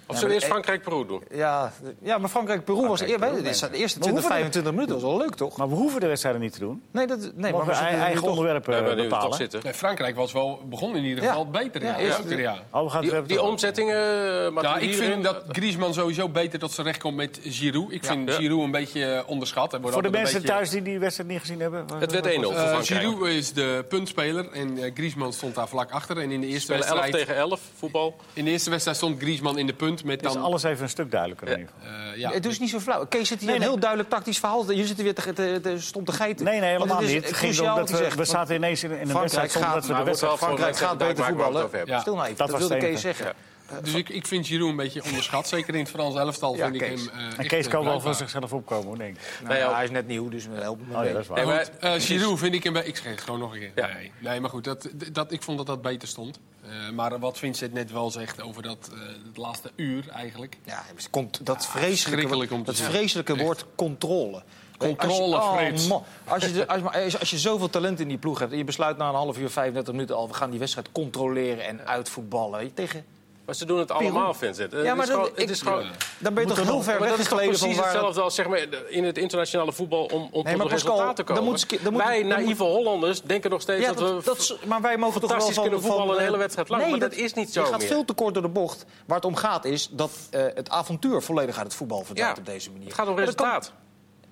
Speaker 1: Of zullen we eerst
Speaker 4: eh,
Speaker 1: Frankrijk-Peru doen?
Speaker 4: Ja, d- ja maar Frankrijk-Peru was... Ja,
Speaker 3: Frankrijk-Peru,
Speaker 4: weet je, de eerste
Speaker 3: Maar
Speaker 4: 20,
Speaker 3: hoeven we-
Speaker 4: 25 minuten was wel leuk, toch?
Speaker 3: Maar we hoeven de wedstrijden niet te doen.
Speaker 4: Nee, dat, nee
Speaker 3: Mogen we
Speaker 4: we zitten
Speaker 3: ei-
Speaker 4: nu
Speaker 3: eigen
Speaker 4: toch-
Speaker 3: onderwerpen
Speaker 1: Nee, maar
Speaker 3: eh,
Speaker 1: nu we toch
Speaker 3: bepalen?
Speaker 1: zitten.
Speaker 2: Nee, Frankrijk was wel begonnen in ieder
Speaker 4: Ja.
Speaker 2: geval beter.
Speaker 4: Ja,
Speaker 2: Ja,
Speaker 4: eerst-
Speaker 2: Ook weer, ja.
Speaker 3: Oh, we gaan het
Speaker 1: Die,
Speaker 3: hebben
Speaker 1: die
Speaker 3: toch-
Speaker 1: omzettingen, eh,
Speaker 2: Ja, ik
Speaker 1: Matuidi erin.
Speaker 2: vind dat Griezmann sowieso beter tot zijn recht komt met Giroud. Ik vind
Speaker 1: Ja.
Speaker 2: Giroud een beetje eh, onderschat. Hij wordt
Speaker 3: Voor de
Speaker 2: altijd een
Speaker 3: mensen
Speaker 2: beetje-
Speaker 3: thuis die die wedstrijd niet gezien hebben. waar-
Speaker 1: Het werd
Speaker 3: waar-
Speaker 1: 1-0 voor
Speaker 2: Eh,
Speaker 1: Frankrijk.
Speaker 2: Giroud is de puntspeler en eh, Griezmann stond daar vlak achter. En in de, eerste
Speaker 1: Spelen 11
Speaker 2: wedstrijd,
Speaker 1: tegen 11 voetbal.
Speaker 2: in de eerste wedstrijd stond Griezmann in de punt met
Speaker 3: Is
Speaker 2: dan...
Speaker 3: alles even een stuk duidelijker in ieder geval.
Speaker 2: eh, ja,
Speaker 4: Het is niet zo flauw. Kees zit hier
Speaker 3: Nee,
Speaker 4: een
Speaker 3: nee.
Speaker 4: heel duidelijk tactisch verhaal. Jullie zitten weer te, te, te- stom te geiten.
Speaker 3: Nee, nee,
Speaker 4: Want
Speaker 3: helemaal
Speaker 4: het is
Speaker 3: niet. Het ging
Speaker 4: cruciaal
Speaker 3: erom
Speaker 4: wat
Speaker 3: dat
Speaker 4: hij
Speaker 3: we,
Speaker 4: zegt.
Speaker 3: we
Speaker 4: want
Speaker 3: zaten ineens in, in een
Speaker 4: Frankrijk
Speaker 3: wedstrijd zonder
Speaker 4: gaat-
Speaker 3: dat we de
Speaker 4: maar
Speaker 1: wordt wel
Speaker 3: wedstrijd...
Speaker 1: voor
Speaker 4: Frankrijk
Speaker 1: gezegd,
Speaker 4: gaat beter
Speaker 1: daar maken we het over
Speaker 4: voetballen.
Speaker 1: hebben.
Speaker 2: Ja.
Speaker 4: Stil nou even,
Speaker 3: Dat
Speaker 4: dat,
Speaker 3: was
Speaker 4: wilde
Speaker 3: het
Speaker 4: Kees
Speaker 3: enige.
Speaker 4: zeggen.
Speaker 2: dus ik, ik vind Giroud een beetje onderschat. Zeker in het Frans elftal
Speaker 4: Ja,
Speaker 2: vind ik hem...
Speaker 4: Kees.
Speaker 2: eh,
Speaker 3: En
Speaker 2: echt,
Speaker 3: Kees
Speaker 2: eh,
Speaker 3: kan wel voor
Speaker 2: bruikbaar.
Speaker 3: zichzelf opkomen, hoor, denk ik.
Speaker 4: Nou,
Speaker 1: Nee,
Speaker 4: ja,
Speaker 1: ook.
Speaker 4: hij is net nieuw, dus we helpen hem
Speaker 3: Oh
Speaker 4: een
Speaker 3: ja, dat
Speaker 4: beetje.
Speaker 3: is waar.
Speaker 1: maar-
Speaker 2: Goed, eh, Giroud vind ik hem... be- Ik zeg gewoon nog een keer.
Speaker 1: Ja.
Speaker 2: Nee. nee, maar goed, dat, dat, ik vond dat dat beter stond. Eh, maar wat Vincent net wel zegt over dat eh, het laatste uur eigenlijk...
Speaker 4: Ja, het komt, dat vreselijke,
Speaker 2: schrikkelijk om te
Speaker 4: dat
Speaker 2: zeggen.
Speaker 4: vreselijke woord controle.
Speaker 2: Controle,
Speaker 4: als je, Oh,
Speaker 2: Frits.
Speaker 4: man. als, je, de- als, je- als, je, als je zoveel talent in die ploeg hebt... en je besluit na een half uur, 35 minuten al... we gaan die wedstrijd controleren en uitvoetballen. weet je, Tegen,
Speaker 1: Maar ze doen het allemaal, Vincent. Ja, het is
Speaker 4: maar dat-
Speaker 1: gewoon... het
Speaker 4: ik-
Speaker 1: is gewoon
Speaker 4: dan ben je
Speaker 3: Moet
Speaker 4: toch
Speaker 3: er
Speaker 4: heel
Speaker 3: nog-
Speaker 4: ver
Speaker 1: maar
Speaker 4: weg
Speaker 1: dat is toch
Speaker 4: geleden van
Speaker 1: precies
Speaker 4: waar...
Speaker 1: hetzelfde als zeg maar, de- in het internationale voetbal om, om
Speaker 4: Nee,
Speaker 1: tot
Speaker 4: maar
Speaker 1: een resultaat te
Speaker 4: Pascal, dan
Speaker 1: komen.
Speaker 4: moet ski- dan moet-
Speaker 1: Wij
Speaker 4: dan moet-
Speaker 1: naïeve Hollanders denken nog steeds
Speaker 4: Ja,
Speaker 1: dat, we...
Speaker 4: dat, dat is- maar wij mogen toch wel
Speaker 1: fantastisch
Speaker 4: van,
Speaker 1: kunnen voetballen
Speaker 4: van,
Speaker 1: een
Speaker 4: eh,
Speaker 1: hele wedstrijd lang, maar dat is niet zo
Speaker 4: Je gaat
Speaker 1: meer.
Speaker 4: veel te kort door de bocht. Waar het om gaat is dat eh, het avontuur volledig uit het voetbal verdwijnt op deze manier.
Speaker 1: Het gaat om
Speaker 4: Maar dat kan-
Speaker 1: resultaat.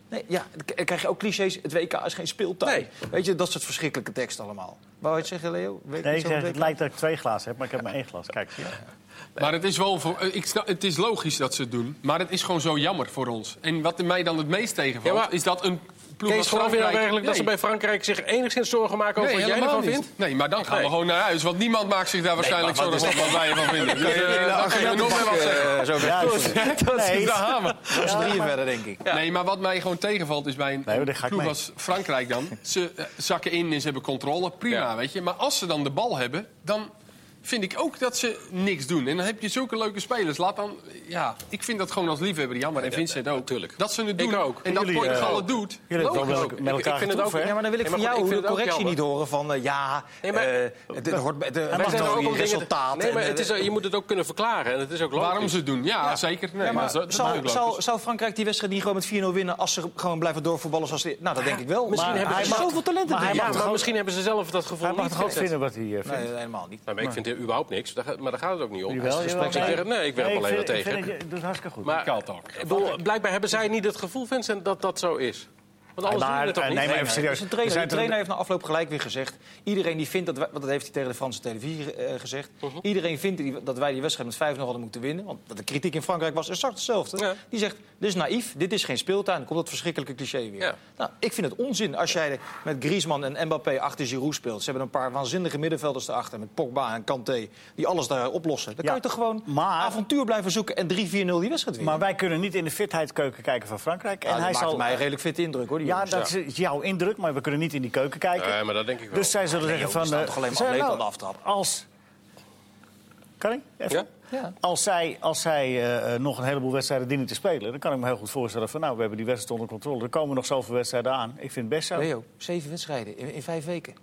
Speaker 4: Nee, ja, dan k- krijg je ook clichés. Het WK is geen speeltuin. Weet je, dat soort verschrikkelijke teksten allemaal. Wou je het zeggen, Leo? Weet je
Speaker 3: Nee, ik
Speaker 4: iets over
Speaker 3: zeg, het
Speaker 4: WK?
Speaker 3: lijkt dat ik twee glazen heb, maar ik heb maar één glas. Kijk, ja.
Speaker 2: Maar het is wel voor, eh, ik, snap- het is logisch dat ze het doen. Maar het is gewoon zo jammer voor ons. En wat mij dan het meest tegenvalt,
Speaker 1: Ja, maar-
Speaker 2: is dat een ploeg
Speaker 1: Kees,
Speaker 2: als
Speaker 1: geloof je nou
Speaker 2: Frankrijk...
Speaker 1: eigenlijk dat ze bij Frankrijk zich enigszins zorgen maken over
Speaker 2: Nee,
Speaker 1: wat jij
Speaker 2: helemaal
Speaker 1: ervan
Speaker 2: niet.
Speaker 1: vindt?
Speaker 2: Nee, maar dan gaan
Speaker 1: Nee.
Speaker 2: we gewoon naar huis. Want niemand maakt zich daar waarschijnlijk
Speaker 4: maar wat
Speaker 2: zorgen om wat wij ervan vinden. Dus, eh, daar kun je nog meer wat zeggen.
Speaker 4: Eh, zo
Speaker 3: Ja, nee,
Speaker 2: Daar gaan we.
Speaker 4: Dat is drieën verder, denk ik.
Speaker 2: Nee, maar wat mij gewoon tegenvalt is bij een
Speaker 3: Nee, maar daar ga ik
Speaker 2: ploeg
Speaker 3: mee.
Speaker 2: als Frankrijk dan. Ze eh, zakken in en ze hebben controle, prima,
Speaker 1: Ja.
Speaker 2: weet je. Maar als ze dan de bal hebben, dan vind ik ook dat ze niks doen. En dan heb je zulke leuke spelers. Laat dan, ja, ik vind dat gewoon als liefhebber jammer. En Vincent ook.
Speaker 1: natuurlijk.
Speaker 2: Dat ze het doen.
Speaker 1: Ik ook.
Speaker 2: En dat
Speaker 3: Jullie, eh,
Speaker 2: Portugal het doet.
Speaker 3: Jullie hebben
Speaker 1: Logisch
Speaker 3: wel
Speaker 1: ook.
Speaker 3: met- met
Speaker 1: Ik- ik
Speaker 3: elkaar
Speaker 1: vind het
Speaker 3: getroffen,
Speaker 1: ook-
Speaker 3: hè?
Speaker 4: Ja, maar dan wil ik
Speaker 1: Nee,
Speaker 4: van
Speaker 1: maar
Speaker 4: jou
Speaker 1: goed, ik
Speaker 4: de
Speaker 1: vind het ook
Speaker 4: correctie
Speaker 1: jammer.
Speaker 4: niet horen van... eh, ja,
Speaker 1: Nee, maar-
Speaker 4: eh, het het hoort bij de
Speaker 1: Wij zijn er ook om dingen te-
Speaker 4: resultaten.
Speaker 1: Nee, maar
Speaker 4: en,
Speaker 1: het is,
Speaker 4: eh,
Speaker 1: je moet het ook kunnen verklaren. En het is ook logisch.
Speaker 2: Waarom ze het doen, ja, zeker. Nee,
Speaker 4: Ja, maar
Speaker 2: maar zo- dat maakt
Speaker 4: zou,
Speaker 2: ook
Speaker 4: zou,
Speaker 2: logisch.
Speaker 4: zou Frankrijk die wedstrijd niet gewoon met 4-0 winnen als ze gewoon blijven doorvoetballen zoals ze... Nou, dat denk ik wel.
Speaker 1: misschien hebben
Speaker 4: hij
Speaker 1: ze-
Speaker 4: mag zoveel talenten.
Speaker 3: Maar hij
Speaker 4: denk
Speaker 1: Ja,
Speaker 3: mag
Speaker 4: ik.
Speaker 1: maar
Speaker 3: toch ook-
Speaker 1: misschien hebben ze zelf dat gevoel
Speaker 3: Hij mag
Speaker 1: niet.
Speaker 3: toch ook
Speaker 1: Nee,
Speaker 3: vinden wat hij eh, vindt?
Speaker 4: Nee, helemaal niet.
Speaker 1: maar ik vind hier überhaupt niks. Daar ga- Maar daar gaat het ook niet om.
Speaker 3: Jawel,
Speaker 1: Het is
Speaker 3: jawel,
Speaker 1: gesprek- ik werk- Nee, ik werp alleen maar
Speaker 3: vind- ik
Speaker 1: tegen.
Speaker 3: vind dat je- doet hartstikke goed.
Speaker 1: Maar
Speaker 2: Kalt ook.
Speaker 1: ik bedoel, blijkbaar hebben zij niet het gevoel, Vincent, dat dat zo is. Want anders doen we het
Speaker 3: eh,
Speaker 1: toch niet.
Speaker 3: nee, maar even serieus.
Speaker 4: Dus de trainer,
Speaker 3: Er
Speaker 4: de
Speaker 3: zijn
Speaker 4: trainer
Speaker 3: toch-
Speaker 4: heeft na afloop gelijk weer gezegd... iedereen die vindt dat wij, want dat heeft hij tegen de Franse televisie eh, gezegd... iedereen vindt die- dat wij die wedstrijd met 5-0 hadden moeten winnen... want de kritiek in Frankrijk was exact hetzelfde.
Speaker 1: Ja.
Speaker 4: Die zegt, dit is naïef, dit is geen speeltuin. Dan komt dat verschrikkelijke cliché weer.
Speaker 1: Ja.
Speaker 4: Nou, ik vind het onzin als jij met Griezmann en Mbappé achter Giroud speelt. Ze hebben een paar waanzinnige middenvelders erachter... met Pogba en Kanté, die alles daar oplossen. Dan
Speaker 3: Ja,
Speaker 4: kan je toch gewoon
Speaker 3: maar-
Speaker 4: avontuur blijven zoeken... en 3-4-0 die wedstrijd winnen.
Speaker 3: Maar wij kunnen niet in de fitheidskeuken kijken van Frankrijk.
Speaker 4: Ja,
Speaker 3: En
Speaker 4: Nou,
Speaker 3: hij
Speaker 4: dat maakt
Speaker 3: zal...
Speaker 4: mij dus een redelijk fit indruk, hoor. die
Speaker 3: Ja,
Speaker 4: jongens.
Speaker 3: dat is jouw indruk, maar we kunnen niet in die keuken kijken.
Speaker 1: Nee, maar dat denk ik wel.
Speaker 3: Dus zij zullen
Speaker 4: Nee,
Speaker 3: zeggen
Speaker 4: joh, er
Speaker 3: van...
Speaker 4: staan
Speaker 3: eh,
Speaker 4: toch alleen maar
Speaker 3: zij-
Speaker 4: atleten
Speaker 3: nou,
Speaker 4: aan de aftrap?
Speaker 3: Als... Kan ik? Even?
Speaker 1: Ja?
Speaker 4: Ja.
Speaker 3: Als zij, als zij eh, eh, nog een heleboel wedstrijden dienen te spelen... dan kan ik me heel goed voorstellen van... nou, we hebben die wedstrijd onder controle. Er komen nog zoveel wedstrijden aan. Ik vind het best zo.
Speaker 4: Leo, zeven wedstrijden in, in vijf weken.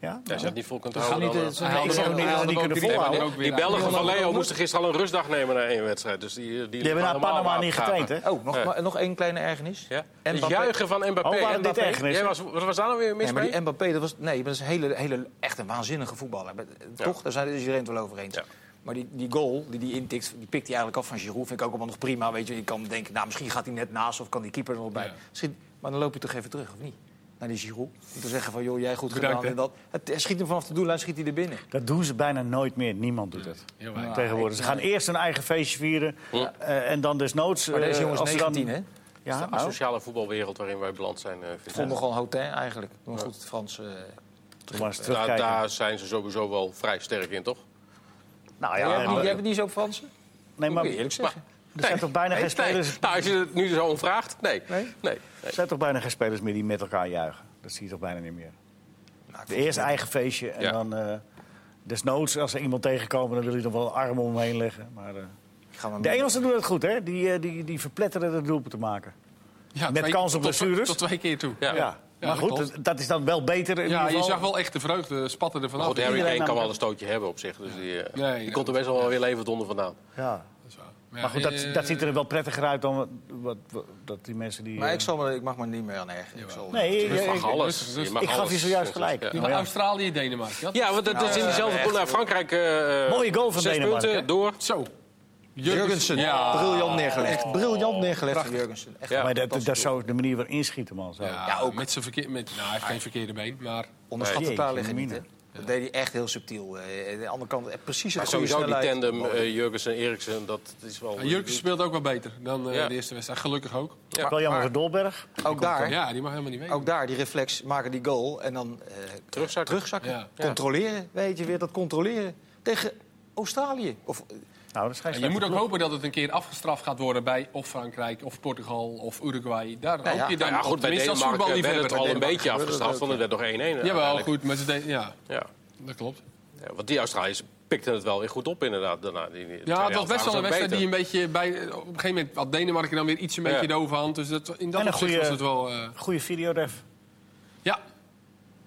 Speaker 3: Ja?
Speaker 1: Als je dat niet vol kunt
Speaker 4: gaan
Speaker 1: houden,
Speaker 4: niet,
Speaker 1: dan...
Speaker 2: Hij
Speaker 4: eh, Nee,
Speaker 2: had
Speaker 3: ik
Speaker 2: er
Speaker 3: zou
Speaker 2: ook-
Speaker 3: niet
Speaker 2: hij
Speaker 3: dat
Speaker 2: had
Speaker 3: die
Speaker 2: er ook
Speaker 3: kunnen
Speaker 2: drie- hij had
Speaker 3: volhouden.
Speaker 2: er ook
Speaker 1: Die
Speaker 2: weer aan.
Speaker 1: Belgen van Leo moesten gisteren al een rustdag nemen na één wedstrijd. Dus die, die,
Speaker 3: Die hebben naar Panama niet getraind, hè?
Speaker 4: Oh, nog,
Speaker 1: Ja.
Speaker 4: maar- nog één kleine ergernis.
Speaker 1: Ja?
Speaker 4: Mbappé.
Speaker 1: Het juichen van Mbappé.
Speaker 3: Oh, waren dit
Speaker 1: Mbappé.
Speaker 3: ergernissen?
Speaker 1: Jij was, wat was daar nou weer mis
Speaker 4: Nee, maar
Speaker 1: mee?
Speaker 4: die Mbappé, dat was, nee, maar dat is een hele, hele, echt een waanzinnige voetballer. Maar, eh, Toch? Daar zijn, is iedereen het wel over eens.
Speaker 1: Ja.
Speaker 4: Maar die, die goal die die intikt, die pikt hij eigenlijk af van Giroud. Vind ik ook allemaal nog prima. Weet je, je kan denken, nou, misschien gaat hij net naast of kan die keeper er nog bij.
Speaker 2: Ja.
Speaker 4: Misschien, maar dan loop je toch even terug, of niet? Naar die Giroud. Om te zeggen van, joh, jij goed
Speaker 2: Bedankt,
Speaker 4: gedaan. En dat. Het, hij schiet hem vanaf de doellijn, schiet hij er binnen.
Speaker 3: Dat doen ze bijna nooit meer. Niemand doet dat.
Speaker 2: heel weinig.
Speaker 3: Tegenwoordig. Ze gaan eerst hun eigen feestje vieren. eh, en dan desnoods...
Speaker 4: Maar deze
Speaker 3: eh,
Speaker 4: jongens
Speaker 3: als ze
Speaker 4: 19,
Speaker 3: dan...
Speaker 4: hè?
Speaker 3: Ja,
Speaker 1: De
Speaker 3: nou.
Speaker 1: asociale voetbalwereld waarin wij beland zijn, eh,
Speaker 4: Ik
Speaker 1: vind
Speaker 4: vond
Speaker 1: ik.
Speaker 4: nogal hotel eigenlijk. Maar goed, het Frans... eh,
Speaker 3: Doe maar eens
Speaker 1: Nou, Daar,
Speaker 3: Nou, terugkijken.
Speaker 1: daar zijn ze sowieso wel vrij sterk in, toch?
Speaker 3: Nou
Speaker 4: Ja,
Speaker 3: ja,
Speaker 4: hebben, die,
Speaker 3: maar,
Speaker 4: hebben die zo Fransen?
Speaker 3: nee, maar
Speaker 4: Moet je
Speaker 3: er
Speaker 4: eerlijk zeggen.
Speaker 1: Nee.
Speaker 3: zijn toch bijna
Speaker 1: Nee,
Speaker 3: geen spelers...
Speaker 1: nee. Nou, als je het nu zo om vraagt, nee.
Speaker 4: Nee?
Speaker 1: Nee? nee.
Speaker 3: Er zijn toch bijna geen spelers meer die met elkaar juichen. Dat zie je toch bijna niet meer.
Speaker 4: Nou, ik
Speaker 3: De
Speaker 4: vond-
Speaker 3: eerst eigen feestje en
Speaker 1: Ja.
Speaker 3: dan eh, desnoods als er iemand tegenkomen, dan wil je nog wel een arm omheen leggen. Maar, eh,
Speaker 4: Gaan we
Speaker 3: de Engelsen doen het goed, hè? Die, eh, die, die verpletteren de doelpunt te maken.
Speaker 2: Ja,
Speaker 3: Met kans op
Speaker 2: tot-
Speaker 3: blessures?
Speaker 2: Tot twee keer toe.
Speaker 1: Ja.
Speaker 3: Ja.
Speaker 2: Ja,
Speaker 3: maar
Speaker 2: dat
Speaker 3: goed,
Speaker 2: klopt.
Speaker 3: dat, dat is dan wel beter. In
Speaker 2: Ja, je
Speaker 3: ieder geval.
Speaker 2: zag wel echt de vreugde spatten er
Speaker 1: Maar
Speaker 2: vanaf.
Speaker 1: goed, Harry
Speaker 3: iedereen
Speaker 1: Kane kan
Speaker 3: namelijk-
Speaker 1: wel een stootje hebben op zich. Dus die, eh,
Speaker 2: Nee,
Speaker 1: die
Speaker 2: ja,
Speaker 1: komt er best wel weer levend onder vandaan.
Speaker 3: Ja.
Speaker 2: Dat is waar.
Speaker 3: Maar goed,
Speaker 2: eh,
Speaker 3: dat, dat ziet er wel prettiger uit dan wat, wat, wat- dat die mensen die.
Speaker 4: Maar
Speaker 3: eh,
Speaker 4: ik, zal me, ik mag me niet meer aan ergeren. Ik
Speaker 2: Jawel.
Speaker 4: zal-
Speaker 3: Nee,
Speaker 1: Dus
Speaker 3: ik-
Speaker 1: mag
Speaker 3: ik-
Speaker 1: alles.
Speaker 2: dus-
Speaker 1: Je
Speaker 2: dus-
Speaker 1: mag
Speaker 3: ik gaf je
Speaker 1: alles.
Speaker 3: zojuist gelijk.
Speaker 1: Ja.
Speaker 3: Maar ja.
Speaker 2: Australië, Denemarken. Ja.
Speaker 1: Ja, want dat is in
Speaker 4: ja,
Speaker 1: diezelfde pool. Nou, Frankrijk. eh,
Speaker 3: Mooie goal van
Speaker 1: zes
Speaker 3: Denemarken,
Speaker 1: punten
Speaker 3: hè?
Speaker 1: door.
Speaker 2: Zo.
Speaker 4: Jurgensen,
Speaker 2: Ja.
Speaker 4: briljant neergelegd. briljant neergelegd van Jurgensen. Echt
Speaker 1: Ja.
Speaker 3: maar dat, dat,
Speaker 4: fantastisch
Speaker 3: zou de manier waarin schieten, man. Zo.
Speaker 2: Ja,
Speaker 4: Ja, ook.
Speaker 2: Met zijn verkeer, met, nou, hij heeft geen verkeerde been, maar...
Speaker 4: Onderschat het
Speaker 3: Jeetje,
Speaker 4: daar liggen niet, hè?
Speaker 3: mine.
Speaker 4: Dat deed hij echt heel subtiel. Eh, aan de andere kant eh, precies het
Speaker 1: Maar
Speaker 4: goede
Speaker 1: sowieso die
Speaker 4: snelheid.
Speaker 1: tandem eh Jurgensen en Eriksen, dat is wel...
Speaker 2: En Jurkensen speelt ook wel beter dan eh,
Speaker 1: Ja.
Speaker 2: de eerste wedstrijd. Gelukkig ook.
Speaker 1: Ja.
Speaker 3: wel jammer
Speaker 4: maar-
Speaker 3: voor Dolberg.
Speaker 4: Ook daar,
Speaker 2: Ja, die mag helemaal niet weten.
Speaker 4: Ah, ook daar, die reflex, maken die goal en dan eh,
Speaker 1: Terugzakken.
Speaker 4: terugzakken.
Speaker 2: Ja.
Speaker 4: Controleren, weet je weer, dat controleren. Tegen Australië. Of, eh,
Speaker 3: Nou, dat is geen
Speaker 2: En je
Speaker 3: slechte
Speaker 2: moet ook
Speaker 3: ploeg.
Speaker 2: hopen dat het een keer afgestraft gaat worden bij of Frankrijk of Portugal of Uruguay. Daar
Speaker 4: Nou ja,
Speaker 2: hoop je dan
Speaker 1: Nou ja, goed, bij
Speaker 2: tenminste als
Speaker 1: Denemarken werd het
Speaker 2: voetballiefhebber.
Speaker 1: al een
Speaker 4: Denemarken
Speaker 1: beetje
Speaker 4: gebeurde dat
Speaker 1: afgestraft,
Speaker 4: ook,
Speaker 1: want het werd nog 1-1.
Speaker 2: Jawel,
Speaker 1: uiteindelijk.
Speaker 2: goed. Maar ze de- ja,
Speaker 1: Ja.
Speaker 2: dat klopt.
Speaker 1: Ja, want die Australiërs pikten het wel weer goed op inderdaad. Daarna, die, die-
Speaker 2: Ja, het was best wel een
Speaker 1: tweede helft
Speaker 2: wedstrijd die
Speaker 1: Nou
Speaker 2: een
Speaker 1: waren
Speaker 2: beetje bij... Op een gegeven moment had Denemarken dan weer iets een beetje
Speaker 1: Ja.
Speaker 2: de overhand. Dus dat, in dat
Speaker 3: En een
Speaker 2: opzicht
Speaker 3: goede-
Speaker 2: was het wel... eh,
Speaker 3: Goede videoref.
Speaker 2: ja,
Speaker 1: ze ook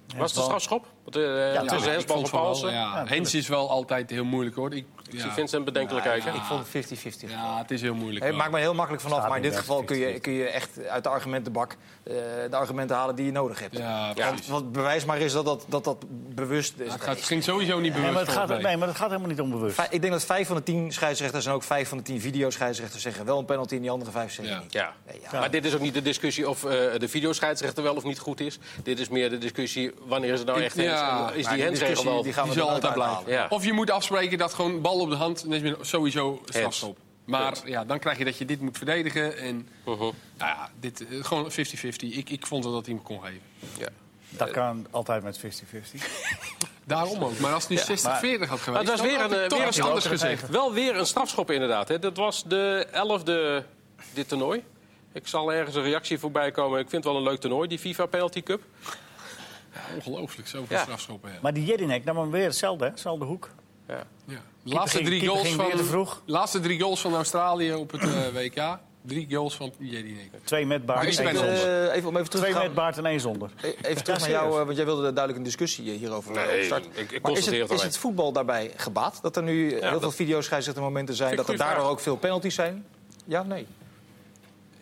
Speaker 1: beter. Was het een strafschop? Want, eh,
Speaker 2: Ja,
Speaker 1: tussen
Speaker 2: ik
Speaker 1: Hensbal
Speaker 2: vond
Speaker 1: en
Speaker 2: van wel,
Speaker 1: Paulsen.
Speaker 2: Ja,
Speaker 3: natuurlijk.
Speaker 2: Hens is wel altijd heel moeilijk hoor. Ik,
Speaker 1: Ik
Speaker 2: ja.
Speaker 1: zie Vincent bedenkelijkheid. hè?
Speaker 4: Ik vond het 50-50.
Speaker 2: ja, het is heel moeilijk.
Speaker 4: Hey,
Speaker 2: wel.
Speaker 4: maakt me heel makkelijk vanaf, maar in dit
Speaker 3: inderdaad
Speaker 4: geval kun je, kun je echt uit de argumentenbak eh, de argumenten halen die je nodig hebt.
Speaker 2: ja,
Speaker 1: Ja.
Speaker 2: precies.
Speaker 4: Want bewijs maar is dat dat, dat, dat bewust is.
Speaker 2: Ja, Dus het gaat, het ging sowieso niet
Speaker 3: Nee
Speaker 2: bewust
Speaker 3: maar, het gaat,
Speaker 2: volgens mij.
Speaker 3: nee, maar dat gaat helemaal niet onbewust.
Speaker 4: Vij- Ik denk dat vijf van de tien scheidsrechters en ook vijf van de tien videoscheidsrechters zeggen wel een penalty en die andere vijf zeggen
Speaker 2: Ja.
Speaker 4: niet.
Speaker 1: Ja.
Speaker 4: Nee, ja.
Speaker 1: maar dit is ook niet de discussie of eh, de videoscheidsrechter wel of niet goed is. Dit is meer de discussie wanneer is het nou echt
Speaker 2: Ja,
Speaker 1: hens en is
Speaker 4: Maar
Speaker 1: die hensregel
Speaker 4: discussie,
Speaker 1: wel...
Speaker 4: die gaan we
Speaker 2: Die zal
Speaker 4: er nooit
Speaker 2: altijd
Speaker 4: uithalen.
Speaker 2: blijven.
Speaker 1: Ja.
Speaker 2: Of je moet afspreken dat gewoon bal op de hand, net als met- sowieso strafschop. Maar ja, dan krijg je dat je dit moet verdedigen. En
Speaker 1: Mhm.
Speaker 2: nou ja, dit, eh, gewoon 50-50. Ik, ik vond wel dat hij hem kon geven.
Speaker 1: Ja.
Speaker 3: Dat kan altijd met 50-50.
Speaker 2: Daarom ook. Maar als het nu 60-40 had
Speaker 1: Maar
Speaker 2: geweest,
Speaker 1: het was
Speaker 2: dan
Speaker 1: weer
Speaker 2: had
Speaker 1: een,
Speaker 2: ik
Speaker 1: eh,
Speaker 2: toch
Speaker 1: weer
Speaker 2: iets
Speaker 1: een
Speaker 2: anders gezegd.
Speaker 1: Wel weer een strafschop inderdaad. Hè. Dat was de elfde dit toernooi. Ik zal ergens een reactie voorbij komen. Ik vind het wel een leuk toernooi, die FIFA Penalty Cup.
Speaker 2: Ongelooflijk, zoveel
Speaker 1: Ja.
Speaker 2: strafschoppen. Ja.
Speaker 3: Maar die Jedinek nam hem weer hetzelfde, hè? Hetzelfde hoek.
Speaker 1: Ja.
Speaker 2: Ja. Laatste,
Speaker 3: ging-
Speaker 2: drie
Speaker 3: keeper
Speaker 2: goals
Speaker 3: ging weer
Speaker 2: van,
Speaker 3: te vroeg.
Speaker 2: laatste drie goals van Australië op het eh, WK. Drie goals van Jedinek.
Speaker 3: Twee met
Speaker 4: Maar
Speaker 3: baard
Speaker 2: Drie
Speaker 4: ik
Speaker 3: en één
Speaker 4: ben,
Speaker 2: penalties.
Speaker 3: zonder.
Speaker 4: eh, even om even terug te
Speaker 3: Twee met
Speaker 4: gaan.
Speaker 3: baard en één zonder.
Speaker 4: Eh, Even terug naar jou, eh, want jij wilde duidelijk een discussie eh, hierover eh,
Speaker 1: Nee,
Speaker 4: opstarten.
Speaker 1: ik- ik
Speaker 4: Maar is,
Speaker 1: constateer
Speaker 4: het,
Speaker 1: het
Speaker 4: is
Speaker 1: alleen.
Speaker 4: het voetbal daarbij gebaat? Dat er nu eh, heel
Speaker 1: dat-
Speaker 4: veel videoscheidsrechtermomenten zijn,
Speaker 1: Vind ik
Speaker 4: dat er
Speaker 1: een goede
Speaker 4: daardoor
Speaker 1: vraag.
Speaker 4: ook veel penalties zijn? Ja, nee.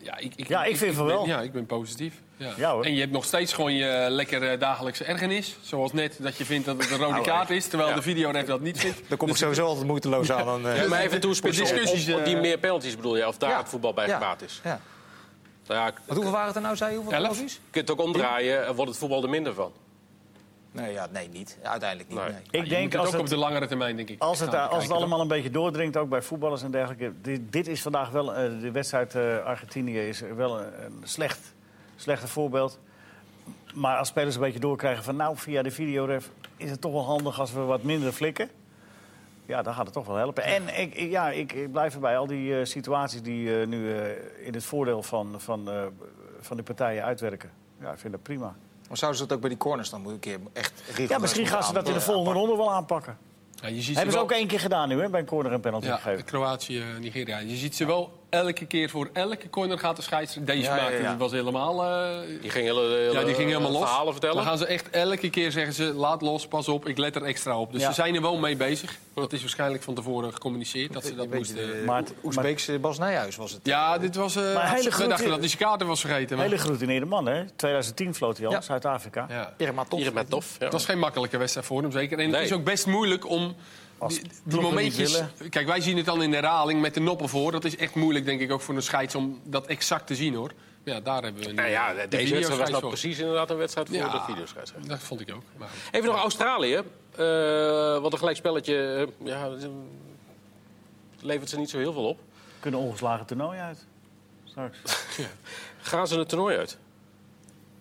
Speaker 2: Ja, ik, ik,
Speaker 3: Ja, ik vind van
Speaker 2: ben-
Speaker 3: wel.
Speaker 2: Ja, ik ben positief. Ja.
Speaker 3: Ja, hoor.
Speaker 2: en je hebt nog steeds gewoon je eh, lekkere dagelijkse ergernis. Zoals net dat je vindt dat het een
Speaker 3: Nou,
Speaker 2: rode kaart is, terwijl
Speaker 1: Ja.
Speaker 2: de videoref dat niet vindt.
Speaker 4: Daar kom ik sowieso altijd moeiteloos aan. Dan, eh,
Speaker 1: Ja, maar even
Speaker 2: de-
Speaker 1: toespitsen
Speaker 2: de
Speaker 1: op-
Speaker 2: discussies,
Speaker 1: op, op die
Speaker 2: eh,
Speaker 1: meer penalties bedoel je, of daar
Speaker 4: ja.
Speaker 1: het voetbal bij
Speaker 4: Ja.
Speaker 1: gebaat is.
Speaker 4: Ja.
Speaker 1: Nou ja, ik-
Speaker 4: Want hoeveel waren het er nou, zei je? Hoeveel
Speaker 2: Elf?
Speaker 4: penalties?
Speaker 1: je kunt het ook omdraaien en wordt het voetbal er minder van.
Speaker 4: Nee, ja, nee, niet. Uiteindelijk niet.
Speaker 1: Nee.
Speaker 4: Nee.
Speaker 3: Ik
Speaker 2: Je moet
Speaker 3: denk
Speaker 2: het
Speaker 3: als
Speaker 2: ook op
Speaker 3: het, Oh.
Speaker 2: de langere termijn, denk ik.
Speaker 3: als het, eh,
Speaker 2: gaan
Speaker 3: als het
Speaker 2: bekijken,
Speaker 3: allemaal een beetje doordringt, ook bij voetballers en dergelijke. Dit, dit is vandaag wel, eh, de wedstrijd eh, Argentinië is wel een, een slecht, slechter voorbeeld. Maar als spelers een beetje doorkrijgen van nou, via de videoref is het toch wel handig als we wat minder flikken. Ja, dan gaat het toch wel helpen. En ik, ik- ja, ik, ik blijf erbij. Al die eh, situaties die eh, nu eh, in het voordeel van, van, eh, van de partijen uitwerken. Ja, ik vind dat prima.
Speaker 4: Maar zouden ze dat ook bij die corners dan moeten een keer echt rigoureus
Speaker 3: Ja, misschien gaan ze dat in de
Speaker 4: aanpakken?
Speaker 3: volgende ronde wel aanpakken.
Speaker 2: toch? Ja, eh, je ziet
Speaker 3: Hebben ze
Speaker 2: wel-
Speaker 3: ook één keer gedaan nu, hè, bij een corner en penalty
Speaker 2: Ja,
Speaker 3: gegeven.
Speaker 2: Kroatië, eh, Nigeria. Je ziet ze wel elke keer voor elke corner gaat de scheidsrechter. Deze
Speaker 4: Ja, ja,
Speaker 2: maakte
Speaker 4: ja.
Speaker 2: die was helemaal. eh,
Speaker 1: Die ging, hele, hele, eh,
Speaker 2: ja, die ging helemaal los.
Speaker 1: verhalen vertellen.
Speaker 2: Dan gaan ze echt elke keer zeggen ze laat los, pas op, ik let er extra op. Dus
Speaker 3: Ja.
Speaker 2: ze zijn er wel mee bezig. Dat is waarschijnlijk van tevoren gecommuniceerd dat ze dat
Speaker 4: Een beetje
Speaker 2: moesten.
Speaker 4: de
Speaker 3: Maar-
Speaker 4: Oe- Oezbeekse Bas Nijhuis was het.
Speaker 2: Ja, dit was. eh
Speaker 3: Maar hele
Speaker 2: we
Speaker 3: grote-
Speaker 2: dachten dat hij zijn kaarten was vergeten.
Speaker 3: Een
Speaker 2: Maar...
Speaker 3: hele geroutineerde man, hè? 2010 vloot hij al,
Speaker 4: Ja.
Speaker 3: Zuid-Afrika.
Speaker 2: Hm. Ja.
Speaker 4: Iedereen maar toch.
Speaker 1: Hier met tof. Ja.
Speaker 2: Dat was geen makkelijke wedstrijd voor hem, zeker. En
Speaker 1: Nee.
Speaker 2: het is ook best moeilijk om die, die
Speaker 3: ploegen
Speaker 2: momentjes...
Speaker 3: niet
Speaker 2: Kijk, wij zien het dan in de herhaling met de noppen voor. Dat is echt moeilijk, denk ik, ook voor een scheids om dat exact te zien, hoor. Ja, daar hebben we... nu
Speaker 1: Nou ja,
Speaker 2: de
Speaker 1: deze wedstrijd was
Speaker 2: videoscheids
Speaker 1: nou
Speaker 2: voor.
Speaker 1: precies inderdaad een wedstrijd voor
Speaker 2: Ja.
Speaker 1: de videoscheidsrechter.
Speaker 2: Dat vond ik ook. Maar goed.
Speaker 1: Even nog Australië. Eh, wat een gelijkspelletje. eh, ja, dat is een- levert ze niet zo heel veel op.
Speaker 3: Kunnen ongeslagen toernooi uit. Straks.
Speaker 1: Gaan ze het toernooi uit?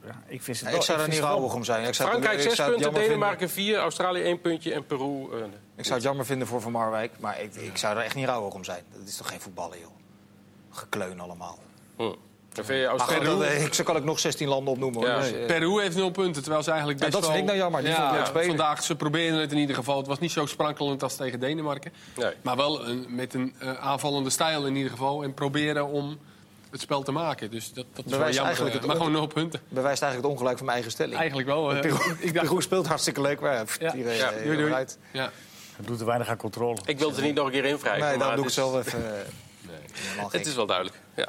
Speaker 3: Eh, ja, ik vind het
Speaker 4: Ja,
Speaker 3: wel-
Speaker 4: ik zou er
Speaker 3: vind het
Speaker 4: niet
Speaker 3: wel-
Speaker 4: rouwig om zijn. Ik zou het-
Speaker 1: Frankrijk
Speaker 4: ik
Speaker 1: 6
Speaker 4: zou het
Speaker 1: punten,
Speaker 4: jammer vinden-
Speaker 1: Denemarken 4, Australië 1 puntje en Peru. eh, nee.
Speaker 4: Ik zou het jammer vinden voor Van Marwijk, maar ik, ik zou er echt niet rouwig om zijn. Dat is toch geen voetballen, joh. Gekleun allemaal.
Speaker 1: Hm. Dan vind je
Speaker 4: Maar goed,
Speaker 1: Australië.
Speaker 4: dat, eh, ik, zo kan ik nog 16 landen opnoemen. Hoor.
Speaker 1: Ja.
Speaker 4: Dus, eh,
Speaker 2: Peru heeft nul punten, terwijl ze eigenlijk
Speaker 4: Ja,
Speaker 2: best
Speaker 4: dat
Speaker 2: wel...
Speaker 4: vind ik nou jammer. Die vond ik leuk spelen.
Speaker 2: Vandaag, ze probeerden het in ieder geval. Het was niet zo sprankelend als tegen Denemarken.
Speaker 1: Nee.
Speaker 2: Maar wel een, met een eh, aanvallende stijl in ieder geval. En proberen om het spel te maken. Dus dat, dat is wel
Speaker 4: Bewijst
Speaker 2: jammer.
Speaker 4: eigenlijk
Speaker 2: eh,
Speaker 4: het
Speaker 2: maar
Speaker 4: ook.
Speaker 2: gewoon nul punten.
Speaker 4: bewijst eigenlijk het ongelijk van mijn eigen stelling.
Speaker 2: Eigenlijk wel. eh, ik dacht,
Speaker 4: Peru speelt hartstikke leuk, maar ja, pff,
Speaker 2: Ja.
Speaker 4: hier, eh,
Speaker 1: Ja,
Speaker 4: hier
Speaker 2: doei, doei.
Speaker 4: uit.
Speaker 2: ja.
Speaker 3: Het doet er weinig aan controle.
Speaker 1: Ik wil het er niet nog een keer in wrijven.
Speaker 4: Nee,
Speaker 1: maar
Speaker 4: dan doe ik het
Speaker 1: het
Speaker 4: zelf
Speaker 1: is-
Speaker 4: even. eh, helemaal gek.
Speaker 1: Het is wel duidelijk. Ja.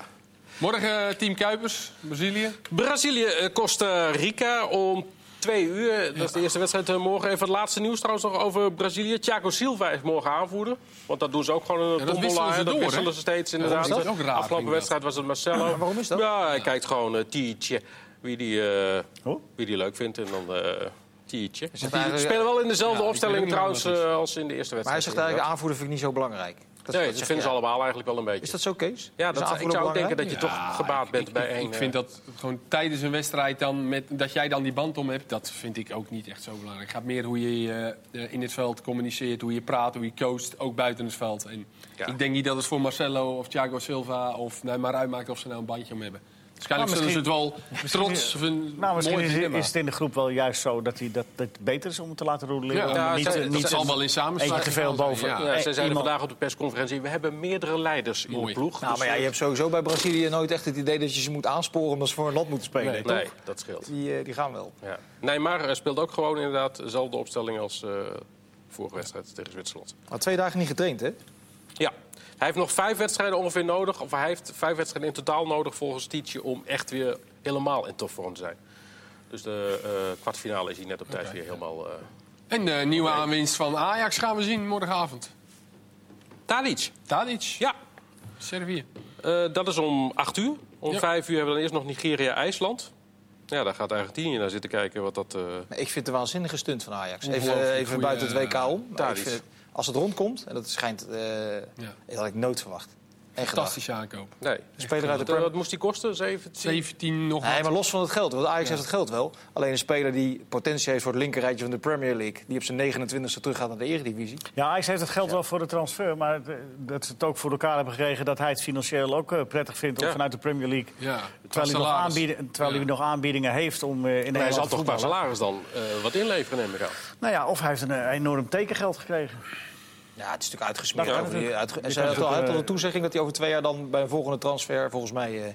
Speaker 2: Morgen eh, team Kuipers, Brazilië.
Speaker 1: Brazilië, eh, Costa Rica om twee uur. Dat is de eerste wedstrijd eh, morgen. Even het laatste nieuws trouwens nog over Brazilië. Thiago Silva is morgen aanvoerder. Want dat doen ze ook gewoon een
Speaker 2: Ja, dat
Speaker 1: tombola,
Speaker 2: wisselen ze
Speaker 1: hè.
Speaker 2: door, hè?
Speaker 1: eh, wisselen ze steeds inderdaad.
Speaker 2: is dat? Ook raar, vind
Speaker 1: Afgelopen
Speaker 2: ik
Speaker 1: wedstrijd was het Marcelo.
Speaker 4: waarom is dat?
Speaker 1: Ja, hij kijkt gewoon eh, Tietje. Wie die, eh,
Speaker 3: Oh?
Speaker 1: wie die leuk vindt en dan... eh Tietje. Ze
Speaker 4: zegt eigenlijk-
Speaker 1: spelen wel in dezelfde
Speaker 2: Ja, ik weet ook
Speaker 1: opstelling
Speaker 2: niet
Speaker 1: trouwens
Speaker 2: waarom dat
Speaker 1: eh, als in de eerste wedstrijd.
Speaker 4: Maar hij zegt
Speaker 1: inderdaad.
Speaker 4: eigenlijk, de aanvoerder vind ik niet zo belangrijk. Dat,
Speaker 1: Nee,
Speaker 4: dat
Speaker 1: dat
Speaker 4: zeg
Speaker 1: vinden ze
Speaker 4: jij.
Speaker 1: allemaal eigenlijk wel een beetje.
Speaker 4: Is dat zo, Kees?
Speaker 1: Ja,
Speaker 4: Is een
Speaker 1: dat, ik
Speaker 4: aanvoerder
Speaker 1: zou ook denken dat
Speaker 4: belangrijk?
Speaker 1: je toch gebaat bent bij
Speaker 2: Ah, ik,
Speaker 1: één. eh,
Speaker 2: Ik vind dat gewoon tijdens een wedstrijd dan met, dat jij dan die band om hebt, dat vind ik ook niet echt zo belangrijk. Het gaat meer hoe je eh, eh, in het veld communiceert, hoe je praat, hoe je coacht, ook buiten het veld. En
Speaker 1: Ja.
Speaker 2: Ik denk niet dat het voor Marcelo of Thiago Silva of nou, maar uitmaakt of ze nou een bandje om hebben. Waarschijnlijk
Speaker 3: Nou,
Speaker 2: zullen ze het wel trots of een
Speaker 3: Nou, misschien
Speaker 2: mooi
Speaker 3: is,
Speaker 2: vinden, maar
Speaker 3: is het in de groep wel juist zo dat hij dat, dat het beter is om het te laten
Speaker 2: Ja,
Speaker 3: roleren. Om
Speaker 1: ja,
Speaker 3: niet,
Speaker 1: dat-
Speaker 3: eh,
Speaker 1: dat
Speaker 3: niet
Speaker 2: zal
Speaker 3: een-
Speaker 2: wel in samenspraak
Speaker 3: eentje te veel
Speaker 2: gedaan
Speaker 3: boven. Eh,
Speaker 2: zijn, ja.
Speaker 1: Ja, zij zeiden
Speaker 3: iemand-
Speaker 1: vandaag op de persconferentie... we hebben meerdere leiders in de
Speaker 2: Mooi.
Speaker 1: ploeg.
Speaker 4: Nou,
Speaker 1: dus,
Speaker 4: maar ja, je hebt sowieso bij Brazilië nooit echt het idee dat je ze moet aansporen omdat ze voor een land moeten spelen.
Speaker 2: Nee.
Speaker 4: toch?
Speaker 1: Nee, dat scheelt.
Speaker 4: Die, eh, die gaan wel.
Speaker 1: Ja. Neymar eh, speelt ook gewoon inderdaad dezelfde opstelling als eh, vorige wedstrijd tegen Zwitserland.
Speaker 4: Maar twee dagen niet getraind, hè?
Speaker 1: Ja, hij heeft nog vijf wedstrijden ongeveer nodig. Of hij heeft vijf wedstrijden in totaal nodig volgens Tietje... om echt weer helemaal in topvorm te zijn. Dus de eh, kwartfinale is hij net op tijd weer helemaal... eh
Speaker 2: En de nieuwe aanwinst van Ajax gaan we zien morgenavond.
Speaker 1: Tadic,
Speaker 2: Tadic,
Speaker 1: ja,
Speaker 2: Servië.
Speaker 1: Eh, dat is om 8 uur. Om
Speaker 2: Ja.
Speaker 1: 5 uur hebben we dan eerst nog Nigeria-IJsland. Ja, daar gaat Argentinië naar zitten kijken wat dat... eh,
Speaker 4: Maar ik vind het een waanzinnige stunt van Ajax. Even,
Speaker 2: Ongelooflijk
Speaker 4: even
Speaker 2: goeie, eh,
Speaker 4: buiten het WK om. Maar
Speaker 1: Tadic.
Speaker 4: ik vind het- als het rondkomt, en dat schijnt, eh, dat had ik nooit verwacht. En Fantastisch.
Speaker 2: Fantastische aankoop.
Speaker 1: nee.
Speaker 4: Speler uit de
Speaker 1: Wat, eh,
Speaker 4: Premier
Speaker 1: wat moest die kosten? 17?
Speaker 2: 17 nog
Speaker 4: Nee,
Speaker 2: wat.
Speaker 4: maar los van het geld. Want Ajax heeft het geld wel. Alleen een speler die potentie heeft voor het linkerrijtje van de Premier League... die op zijn 29e teruggaat naar de Eredivisie.
Speaker 3: Ja, Ajax heeft het geld wel voor de transfer, maar het, eh, dat ze het ook voor elkaar hebben gekregen dat hij het financieel ook eh, prettig vindt om
Speaker 1: Ja.
Speaker 3: vanuit de Premier League.
Speaker 2: Ja, qua
Speaker 3: Terwijl, hij nog,
Speaker 2: salaris.
Speaker 3: aanbieden, terwijl
Speaker 2: Ja.
Speaker 3: hij nog aanbiedingen heeft om eh, in
Speaker 1: Nee, hij
Speaker 3: Nederland
Speaker 1: zal
Speaker 3: te
Speaker 1: toch qua
Speaker 3: voetballen.
Speaker 1: salaris dan eh, wat inleveren, neem ik aan.
Speaker 3: Nou ja, of hij heeft een eh, enorm tekengeld gekregen.
Speaker 4: Ja, het is natuurlijk uitgesmeerd.
Speaker 3: Nou, Ja,
Speaker 4: over die-
Speaker 3: natuurlijk.
Speaker 4: uitge-
Speaker 3: Je
Speaker 4: Ze
Speaker 3: kan
Speaker 4: hadden al-
Speaker 3: het ook,
Speaker 4: had al
Speaker 3: eh,
Speaker 4: een toezegging dat hij over twee jaar dan bij een volgende transfer... volgens mij eh,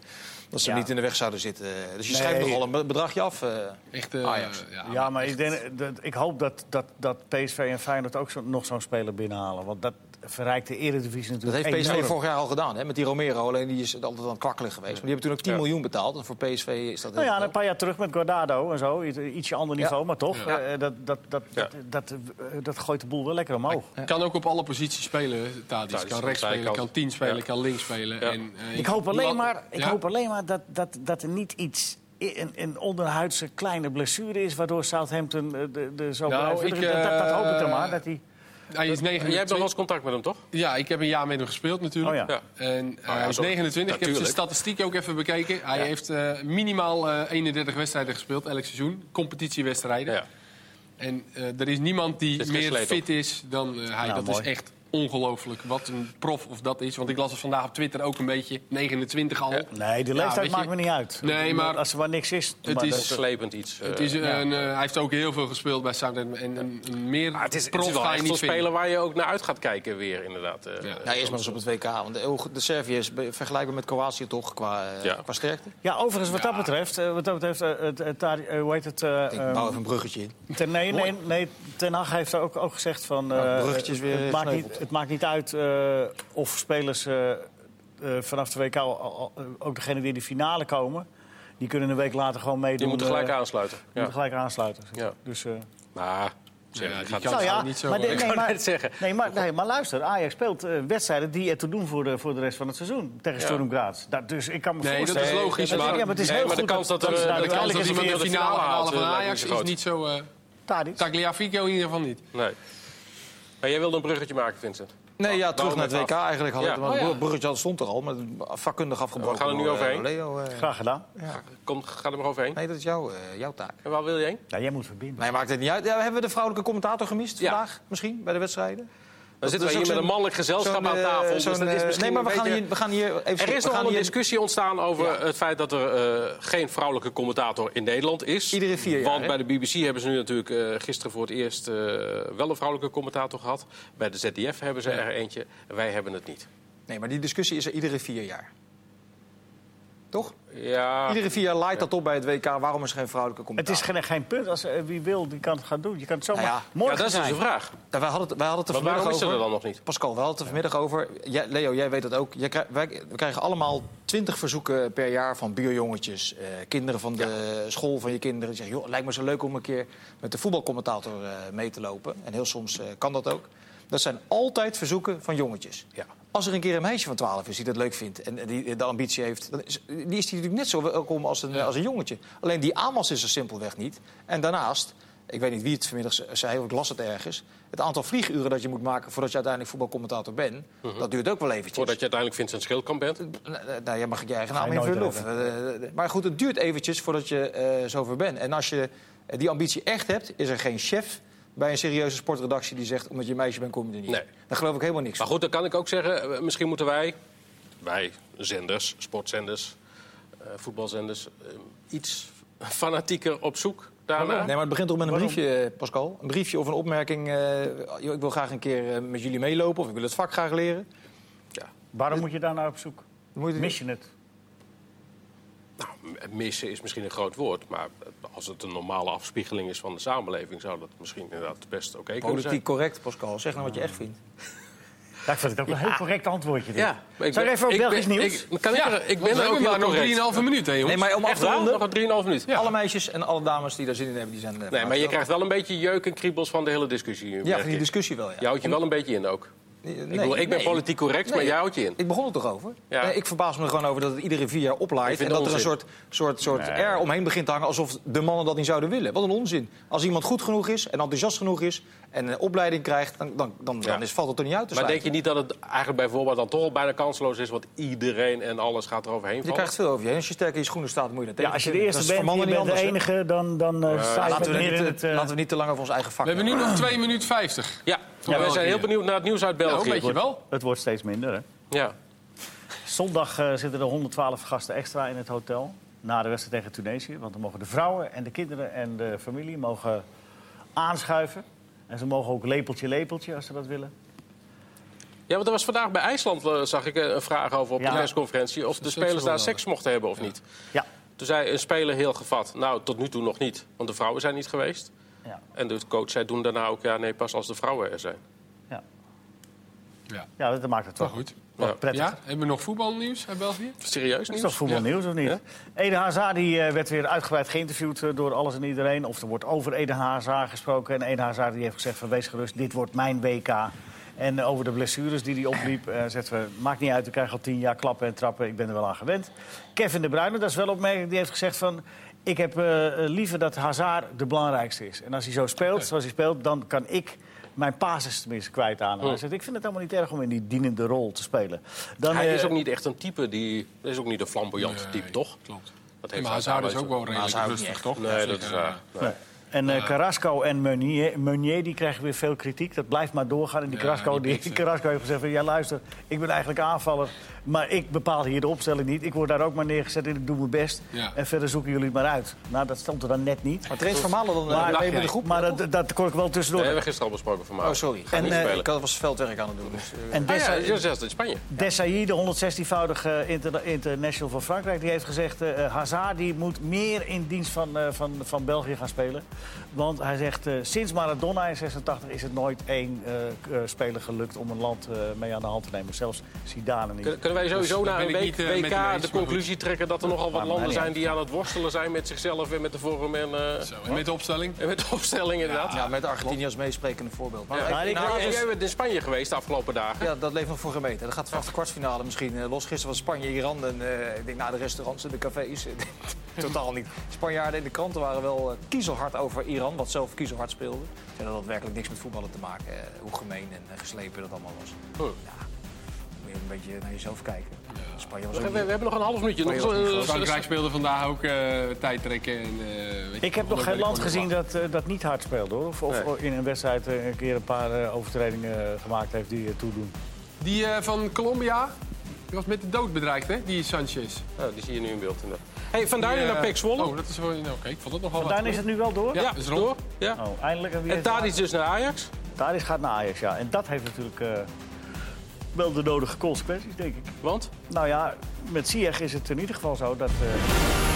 Speaker 4: dat ze
Speaker 3: Ja.
Speaker 4: niet in de weg zouden zitten. Dus je
Speaker 3: Nee.
Speaker 4: schrijft nogal een be- bedragje af. eh.
Speaker 2: Echt, eh,
Speaker 4: Ajax.
Speaker 2: Ja,
Speaker 3: Ja, maar ik, denk, dat, ik hoop dat, dat, dat PSV en Feyenoord ook zo, nog zo'n speler binnenhalen. Want dat verrijkt de Eredivisie
Speaker 4: dat
Speaker 3: natuurlijk
Speaker 4: heeft PSV
Speaker 3: enorm.
Speaker 4: vorig jaar al gedaan, hè, met die Romero. Alleen die is altijd aan het kwakkelen geweest. Maar die hebben toen ook 10
Speaker 1: Ja.
Speaker 4: miljoen betaald. En voor PSV is dat...
Speaker 3: Nou ja,
Speaker 4: heel
Speaker 3: en
Speaker 4: veel.
Speaker 3: een paar jaar terug met Guardado en zo. Iets- Ietsje ander niveau, maar toch.
Speaker 1: Ja.
Speaker 3: eh, dat, dat, dat,
Speaker 1: Ja.
Speaker 3: dat, dat, eh, dat gooit de boel wel lekker omhoog.
Speaker 2: Kan ook op alle posities spelen, Tadic.
Speaker 1: Tadic,
Speaker 2: Kan rechts spelen,
Speaker 1: zijkant.
Speaker 2: kan tien spelen,
Speaker 1: Ja.
Speaker 2: kan links spelen.
Speaker 1: Ja.
Speaker 2: En, eh,
Speaker 3: Ik hoop alleen
Speaker 2: Lat-
Speaker 3: maar, ik
Speaker 2: Ja.
Speaker 3: hoop alleen maar dat, dat, dat er niet iets... Een, een onderhuidse kleine blessure is, waardoor Southampton eh, de, de zo
Speaker 2: Nou,
Speaker 3: blijft.
Speaker 2: ik, eh,
Speaker 3: dat, dat, dat hoop ik dan maar. Dat die...
Speaker 2: Hij is
Speaker 1: Jij hebt nog wel
Speaker 2: 29.
Speaker 1: eens contact met hem, toch?
Speaker 2: Ja, ik heb een jaar met hem gespeeld natuurlijk.
Speaker 3: Oh ja.
Speaker 1: Ja. Nou
Speaker 2: En eh,
Speaker 1: ja,
Speaker 2: hij is
Speaker 1: zo-
Speaker 2: 29. Ik heb zijn
Speaker 1: natuurlijk.
Speaker 2: statistiek ook even bekeken. Hij heeft eh, minimaal eh, 31 wedstrijden gespeeld elk seizoen. Competitiewedstrijden.
Speaker 1: Ja.
Speaker 2: En eh, er is niemand die
Speaker 1: Zit geen
Speaker 2: meer
Speaker 1: sleet op.
Speaker 2: fit is dan eh, hij.
Speaker 3: Nou,
Speaker 2: dat is
Speaker 3: mooi.
Speaker 2: echt ongelooflijk. Wat een prof of dat is. Want ik las het vandaag op Twitter ook een beetje. 29 al.
Speaker 3: Nee, de
Speaker 2: Ja,
Speaker 3: leeftijd
Speaker 2: weet je-
Speaker 3: maakt me niet uit.
Speaker 2: Nee, maar-
Speaker 3: Als er maar niks is.
Speaker 2: Het
Speaker 3: maar
Speaker 2: is-
Speaker 3: dat-
Speaker 1: Is slepend iets. eh.
Speaker 2: Het is
Speaker 3: ja.
Speaker 2: een, eh, hij heeft ook heel veel gespeeld bij Southampton. En een, een meer
Speaker 1: Maar Ah, het is, het
Speaker 2: prof
Speaker 1: is wel
Speaker 2: ga je
Speaker 1: echt
Speaker 2: niet
Speaker 1: een
Speaker 2: vinden.
Speaker 1: speler waar je ook naar uit gaat kijken weer, inderdaad. eh.
Speaker 2: Ja.
Speaker 4: Ja, eerst maar eens op het WK. Want de, de Servië is be- vergelijkbaar met Kroatië toch qua, eh,
Speaker 1: Ja.
Speaker 4: qua sterkte.
Speaker 3: Ja, overigens, wat dat betreft. eh, Wat dat betreft eh, het- het daar- eh, hoe heet het? eh,
Speaker 4: Ik
Speaker 3: ehm,
Speaker 4: bouw even een bruggetje in.
Speaker 3: ten, nee, nee, nee, Ten Hag heeft ook, ook gezegd van... eh,
Speaker 4: Nou, bruggetjes weer
Speaker 3: het, maakt
Speaker 4: gesneuveld.
Speaker 3: niet, het maakt niet uit eh, of spelers eh, eh, vanaf de WK... al- al- eh, ook degenen die in de finale komen... die kunnen een week later gewoon meedoen.
Speaker 1: Die moeten gelijk
Speaker 3: eh,
Speaker 1: aansluiten.
Speaker 3: die
Speaker 1: Ja.
Speaker 3: moeten gelijk aansluiten.
Speaker 1: Ja.
Speaker 3: Dus, eh,
Speaker 1: Maar, Nou, zeg,
Speaker 2: Ja, die
Speaker 1: gaat-
Speaker 2: kan-
Speaker 3: nou ja,
Speaker 2: zou niet zo,
Speaker 3: maar,
Speaker 2: eh,
Speaker 3: de-
Speaker 2: ik
Speaker 3: nee,
Speaker 1: wou
Speaker 3: maar-
Speaker 1: net zeggen.
Speaker 3: Nee maar, nee, maar luister, Ajax speelt eh, wedstrijden die er te doen voor de, voor de rest van het seizoen. Tegen
Speaker 1: Ja.
Speaker 3: Sturm Graz. Dat, dus ik kan me
Speaker 2: Nee, dat
Speaker 3: voorstellen...
Speaker 2: is logisch.
Speaker 3: Ja,
Speaker 2: maar
Speaker 3: maar het is
Speaker 1: nee,
Speaker 3: heel
Speaker 1: maar de
Speaker 3: goed
Speaker 1: kans dat,
Speaker 3: dat-
Speaker 1: er, eh,
Speaker 3: dat ze daar
Speaker 1: de kans dat
Speaker 3: uiteindelijk
Speaker 1: iemand
Speaker 2: iemand
Speaker 1: de
Speaker 2: de finale halen van
Speaker 1: eh, lijkt me
Speaker 2: Ajax is
Speaker 1: groot.
Speaker 2: niet zo... eh
Speaker 3: Tadic.
Speaker 2: Tagliafico in ieder geval niet.
Speaker 1: Nee. Maar jij wilde een bruggetje maken, Vincent.
Speaker 4: Nee, ja, terug
Speaker 1: bouwen
Speaker 4: naar
Speaker 1: we
Speaker 4: het WK.
Speaker 1: af.
Speaker 4: Eigenlijk had
Speaker 1: Ja.
Speaker 4: het, maar
Speaker 1: Oh, ja.
Speaker 4: het bruggetje had- stond er al, maar vakkundig afgebroken.
Speaker 1: gaan er nu
Speaker 4: door, eh,
Speaker 1: overheen.
Speaker 4: Leo, eh,
Speaker 3: Graag gedaan.
Speaker 1: Kom, ga er maar overheen.
Speaker 4: nee, dat is jouw, eh, jouw taak.
Speaker 1: En waar wil je heen?
Speaker 3: Ja, jij moet verbinden.
Speaker 4: Nee, maakt het niet uit. Ja, hebben we de vrouwelijke commentator gemist
Speaker 1: Ja.
Speaker 4: vandaag misschien bij de wedstrijden?
Speaker 1: Dan zitten we
Speaker 4: is
Speaker 1: hier
Speaker 4: ook
Speaker 1: met een
Speaker 4: zo'n-
Speaker 1: mannelijk gezelschap
Speaker 4: Zo'n,
Speaker 1: aan
Speaker 4: eh,
Speaker 1: tafel. Dus
Speaker 4: zo'n,
Speaker 1: dat is
Speaker 4: eh,
Speaker 1: misschien
Speaker 4: nee, maar
Speaker 1: een
Speaker 4: we gaan,
Speaker 1: beetje-
Speaker 4: hier, we gaan hier even...
Speaker 1: Er is
Speaker 4: we
Speaker 1: nogal
Speaker 4: gaan
Speaker 1: een
Speaker 4: hier-
Speaker 1: discussie ontstaan over het feit dat er eh, geen vrouwelijke commentator in Nederland is.
Speaker 4: Iedere vier jaar,
Speaker 1: Want
Speaker 4: hè?
Speaker 1: bij de BBC hebben ze nu natuurlijk eh, gisteren voor het eerst eh, wel een vrouwelijke commentator gehad. Bij de ZDF hebben ze er eentje. Wij hebben het niet.
Speaker 4: Nee, maar die discussie is er iedere vier jaar. Toch?
Speaker 1: Ja,
Speaker 4: Iedere vier jaar laait dat op bij het WK. Waarom is er geen vrouwelijke
Speaker 3: Het
Speaker 4: commentator?
Speaker 3: is geen, geen punt. Als, eh, wie wil, die kan het gaan doen. Je kan het zomaar...
Speaker 4: Nou ja.
Speaker 1: ja
Speaker 3: Morgen
Speaker 1: dat is dus
Speaker 3: zijn.
Speaker 1: de vraag.
Speaker 4: Ja, wij hadden het, wij hadden het er
Speaker 1: Maar waarom
Speaker 4: vanmiddag
Speaker 1: is er
Speaker 4: over.
Speaker 1: dan nog niet?
Speaker 4: Pascal, we hadden het er vanmiddag over. Jij, Leo, jij weet het ook. Jij krij- wij, we krijgen allemaal twintig verzoeken per jaar van buurjongetjes. eh, kinderen van de school van je kinderen. Die zeggen, joh, lijkt me zo leuk om een keer met de voetbalcommentator eh, mee te lopen. En heel soms eh, kan dat ook. Dat zijn altijd verzoeken van jongetjes.
Speaker 1: Ja.
Speaker 4: Als er een keer een meisje van 12 is die dat leuk vindt en die de ambitie heeft, dan is, die is die natuurlijk net zo welkom als een, als een jongetje. Alleen die aanwas is er simpelweg niet. En daarnaast, ik weet niet wie het vanmiddag ze- zei, of ik las het ergens. Het aantal vlieguren dat je moet maken voordat je uiteindelijk voetbalcommentator bent, dat duurt ook wel eventjes.
Speaker 1: Mhm. Voordat je uiteindelijk Vincent Schildkamp bent.
Speaker 4: Nou, nou, jij mag je eigen naam
Speaker 3: je nooit
Speaker 4: invullen. Of, eh, maar goed, het duurt eventjes voordat je eh zover bent. En als je eh, die ambitie echt hebt, is er geen chef bij een serieuze sportredactie die zegt... omdat je een meisje bent, kom je er niet. in.
Speaker 1: Nee.
Speaker 4: Daar geloof ik helemaal niks
Speaker 1: Maar
Speaker 4: van.
Speaker 1: goed, dan kan ik ook zeggen, eh, misschien moeten wij, wij zenders, sportzenders, eh, voetbalzenders, eh, iets fanatieker op zoek daarna.
Speaker 4: Nee, maar het begint toch met een briefje, eh, Pascal. Een briefje of een opmerking. eh, joh, ik wil graag een keer eh, met jullie meelopen of ik wil het vak graag leren.
Speaker 3: Waarom moet je daar nou op zoek?
Speaker 4: Dan moet je-
Speaker 3: Mis je het?
Speaker 1: Nou, m- missen is misschien een groot woord, maar eh, als het een normale afspiegeling is van de samenleving, zou dat misschien inderdaad best oké kunnen zijn.
Speaker 4: Politiek correct, Pascal. Zeg nou wat je echt vindt.
Speaker 3: Ja, ik vind het ook een heel correct antwoordje. dit.
Speaker 1: Ja, maar ik
Speaker 3: Zijn
Speaker 1: ben-
Speaker 3: even op
Speaker 1: ik
Speaker 3: Belgisch
Speaker 1: ben-
Speaker 3: nieuws?
Speaker 1: ik- kan ik er- ik ben er ook heel
Speaker 2: maar nog 3,5
Speaker 1: correct.
Speaker 2: minuten, hè, jongens.
Speaker 4: Nee, maar om af
Speaker 1: Echt
Speaker 4: te
Speaker 1: waar?
Speaker 4: ronden,
Speaker 1: Nog een 3,5 minuut.
Speaker 4: alle meisjes en alle dames die daar zin in hebben, die zijn... eh,
Speaker 1: Nee, maar
Speaker 4: buiten.
Speaker 1: je krijgt wel een beetje jeuk en kriebels van de hele discussie.
Speaker 4: Ja,
Speaker 1: merk
Speaker 4: van die
Speaker 1: ik.
Speaker 4: discussie wel, ja.
Speaker 1: Je houdt je wel een beetje in ook. ik, bedoel, ik ben politiek correct, maar
Speaker 4: Nee.
Speaker 1: jij houdt je in.
Speaker 4: Ik begon het toch over?
Speaker 1: Ja.
Speaker 4: Nee, ik verbaas me er gewoon over dat het iedere vier jaar
Speaker 1: Ik
Speaker 4: oplaait. En
Speaker 1: vind
Speaker 4: dat er een
Speaker 1: onzin.
Speaker 4: soort, soort, soort air omheen begint te hangen alsof de mannen dat niet zouden willen. Wat een onzin. Als iemand goed genoeg is en enthousiast genoeg is en een opleiding krijgt, dan, dan, dan, dan is, valt het er niet uit te
Speaker 1: Maar denk
Speaker 4: sluiten.
Speaker 1: je niet dat het eigenlijk bij voorbaat dan toch al bijna kansloos is? Want iedereen en alles gaat eroverheen
Speaker 4: je
Speaker 1: vallen.
Speaker 4: krijgt veel over je heen. Als je sterk in je schoenen staat, moet je dat
Speaker 3: Ja,
Speaker 4: tegen
Speaker 3: als je de
Speaker 4: kunnen.
Speaker 3: eerste
Speaker 4: Dat is
Speaker 3: bent,
Speaker 4: voor
Speaker 3: je
Speaker 4: mannen
Speaker 3: bent de
Speaker 4: niet anders, hè?
Speaker 3: enige, dan, dan eh, sta je
Speaker 4: Laten we,
Speaker 3: meer
Speaker 4: niet,
Speaker 3: in het... eh,
Speaker 4: laten we niet te lang over ons eigen vak
Speaker 2: We hebben nu
Speaker 4: hebben.
Speaker 2: nog 2 minuten 50.
Speaker 1: Ja, maar wij
Speaker 2: wel
Speaker 1: zijn heel
Speaker 2: hier.
Speaker 1: benieuwd naar het nieuws uit
Speaker 2: Nou,
Speaker 1: België.
Speaker 2: een beetje wel.
Speaker 3: Het wordt steeds minder, hè?
Speaker 1: Ja.
Speaker 3: Zondag eh, zitten er 112 gasten extra in het hotel. Na de wedstrijd tegen Tunesië. Want dan mogen de vrouwen en de kinderen en de familie mogen aanschuiven. En ze mogen ook lepeltje, lepeltje als ze dat willen.
Speaker 1: ja, want er was vandaag bij IJsland, eh, zag ik, eh, een vraag over op
Speaker 3: Ja.
Speaker 1: de persconferentie... of de spelers daar
Speaker 2: seksueel
Speaker 1: seks mochten hebben of niet.
Speaker 3: Ja.
Speaker 1: Toen zei een speler heel gevat, nou, tot nu toe nog niet. Want de vrouwen zijn niet geweest.
Speaker 3: Ja.
Speaker 1: En de coach zei doen daarna ook, ja, nee, pas als de vrouwen er zijn.
Speaker 3: Ja.
Speaker 2: Ja.
Speaker 3: ja, dat maakt het
Speaker 2: Maar
Speaker 3: toch
Speaker 2: goed.
Speaker 1: Ja.
Speaker 3: prettig.
Speaker 2: Ja, hebben we nog voetbalnieuws uit België?
Speaker 1: Serieus
Speaker 3: Dat
Speaker 1: nieuws?
Speaker 3: Oh, is toch voetbalnieuws, of niet?
Speaker 1: Ja.
Speaker 3: Eden Hazard die, eh, werd weer uitgebreid geïnterviewd eh, door alles en iedereen. Of er wordt over Eden Hazard gesproken. En Eden Hazard die heeft gezegd van wees gerust, dit wordt mijn WK. En eh, over de blessures die hij opliep, eh zegt we, maakt niet uit, ik krijg al tien jaar klappen en trappen. Ik ben er wel aan gewend. Kevin De Bruyne, dat is wel opmerkelijk, die heeft gezegd van... ik heb eh, eh, liever dat Hazard de belangrijkste is. En als hij zo speelt, zoals hij speelt, dan kan ik... Mijn basis tenminste kwijt aan.
Speaker 1: Oh.
Speaker 3: En Hij zegt, ik vind het helemaal niet erg om in die dienende rol te spelen. Dan,
Speaker 1: Hij is
Speaker 3: eh,
Speaker 1: ook niet echt een type die... Hij is ook niet een flamboyant type, toch?
Speaker 2: Klopt.
Speaker 1: Dat
Speaker 2: Maar
Speaker 1: hij
Speaker 2: Hazard is
Speaker 1: wel.
Speaker 2: ook wel redelijk
Speaker 4: Hazard niet
Speaker 2: rustig,
Speaker 4: echt.
Speaker 2: toch?
Speaker 1: Nee, dat is waar.
Speaker 3: Nee. En eh, Carrasco en Meunier, Meunier die krijgen weer veel kritiek. Dat blijft maar doorgaan. En die
Speaker 2: Ja,
Speaker 3: Carrasco,
Speaker 2: die
Speaker 3: die,
Speaker 2: blikt, hè.
Speaker 3: Carrasco heeft gezegd van... ja, luister, ik ben eigenlijk aanvaller. Maar ik bepaal hier de opstelling niet. Ik word daar ook maar neergezet en ik doe mijn best.
Speaker 2: Ja.
Speaker 3: En verder zoeken jullie het maar uit. Nou, dat stond er dan net niet.
Speaker 4: Maar Trace van Malen dan eh,
Speaker 3: Maar,
Speaker 4: mee met de groep.
Speaker 3: maar dat, dat kon ik wel
Speaker 1: Nee,
Speaker 3: tussendoor.
Speaker 1: we hebben gisteren al besproken vandaag.
Speaker 4: Oh, sorry.
Speaker 1: Gaan
Speaker 4: En,
Speaker 1: niet
Speaker 4: eh,
Speaker 1: spelen.
Speaker 4: ik was veldwerk aan het doen. Dus, eh,
Speaker 3: En
Speaker 1: Ah, ja,
Speaker 3: Dessay,
Speaker 1: je zegt in Spanje.
Speaker 3: Desailly, de 116-voudige interna- international van Frankrijk, die heeft gezegd... eh Hazard die moet meer in dienst van, eh, van, van België gaan spelen. Want hij zegt, eh, sinds Maradona in 86 is het nooit één eh, k- eh, speler gelukt... om een land eh, mee aan de hand te nemen. Zelfs Zidane niet.
Speaker 1: Kunnen, kunnen wij sowieso
Speaker 2: Dus
Speaker 1: na
Speaker 2: daar
Speaker 1: een
Speaker 2: ben ik
Speaker 1: week
Speaker 2: niet, eh, met hem eens,
Speaker 1: WK de
Speaker 2: maar
Speaker 1: conclusie trekken dat er nogal wat
Speaker 3: Maar mij
Speaker 1: landen
Speaker 3: niet
Speaker 1: zijn die aan het worstelen zijn met zichzelf en met de vorm en, eh,
Speaker 2: Zo, en met de opstelling.
Speaker 1: en met de opstelling inderdaad?
Speaker 4: ja, met Argentinië als meesprekende voorbeeld. Maar,
Speaker 3: maar ik-
Speaker 4: nou,
Speaker 1: Nou,
Speaker 4: is-
Speaker 1: jij bent in Spanje geweest de afgelopen dagen.
Speaker 4: Ja, dat leeft nog voor gemeten. Dat gaat vanaf de kwartfinale misschien eh, los. Gisteren was Spanje, Iran en eh, ik denk na de restaurants en de cafés. eh, totaal niet. Spanjaarden in de kranten waren wel eh, kiezelhard over Iran, wat zelf kiezelhard speelde. Ze hadden daadwerkelijk niks met voetballen te maken. eh, hoe gemeen en eh, geslepen dat allemaal was.
Speaker 1: Oh.
Speaker 4: Ja, moet je een beetje naar jezelf kijken. Spanje was
Speaker 1: We,
Speaker 4: ook
Speaker 1: we
Speaker 4: niet-
Speaker 1: hebben nog een half minuutje.
Speaker 4: Maar
Speaker 1: Nog
Speaker 4: je was niet
Speaker 1: zo-
Speaker 4: groot.
Speaker 2: Frankrijk speelde vandaag ook eh tijdrekken. En, eh, weet je,
Speaker 3: Ik heb nog
Speaker 2: honderd
Speaker 3: geen land
Speaker 2: ballen
Speaker 3: gezien
Speaker 2: verwacht.
Speaker 3: dat, eh, dat niet hard speelde, hoor. Of, of in een wedstrijd eh, een keer een paar eh, overtredingen eh, gemaakt heeft die eh, toedoen.
Speaker 2: Die eh, van Colombia, die was met de dood bedreigd, hè? Die Sanchez.
Speaker 1: Oh, die zie je nu in beeld. inderdaad. Hey, van Duinen
Speaker 2: Die, eh,
Speaker 1: naar Pek Zwolle.
Speaker 2: Oh, dat is wel... nou, Oké, ik vond dat nogal wat.
Speaker 3: Daar is het nu wel door.
Speaker 2: Ja,
Speaker 1: ja,
Speaker 2: is rond.
Speaker 1: door. Ja.
Speaker 3: Oh, eindelijk. En wie
Speaker 1: En
Speaker 3: heeft-
Speaker 1: Tadic dus naar Ajax.
Speaker 3: Tadic gaat naar Ajax, ja. En dat heeft natuurlijk eh, wel de nodige consequenties, denk ik.
Speaker 1: Want?
Speaker 3: Nou ja, met Ziyech is het in ieder geval zo dat... eh,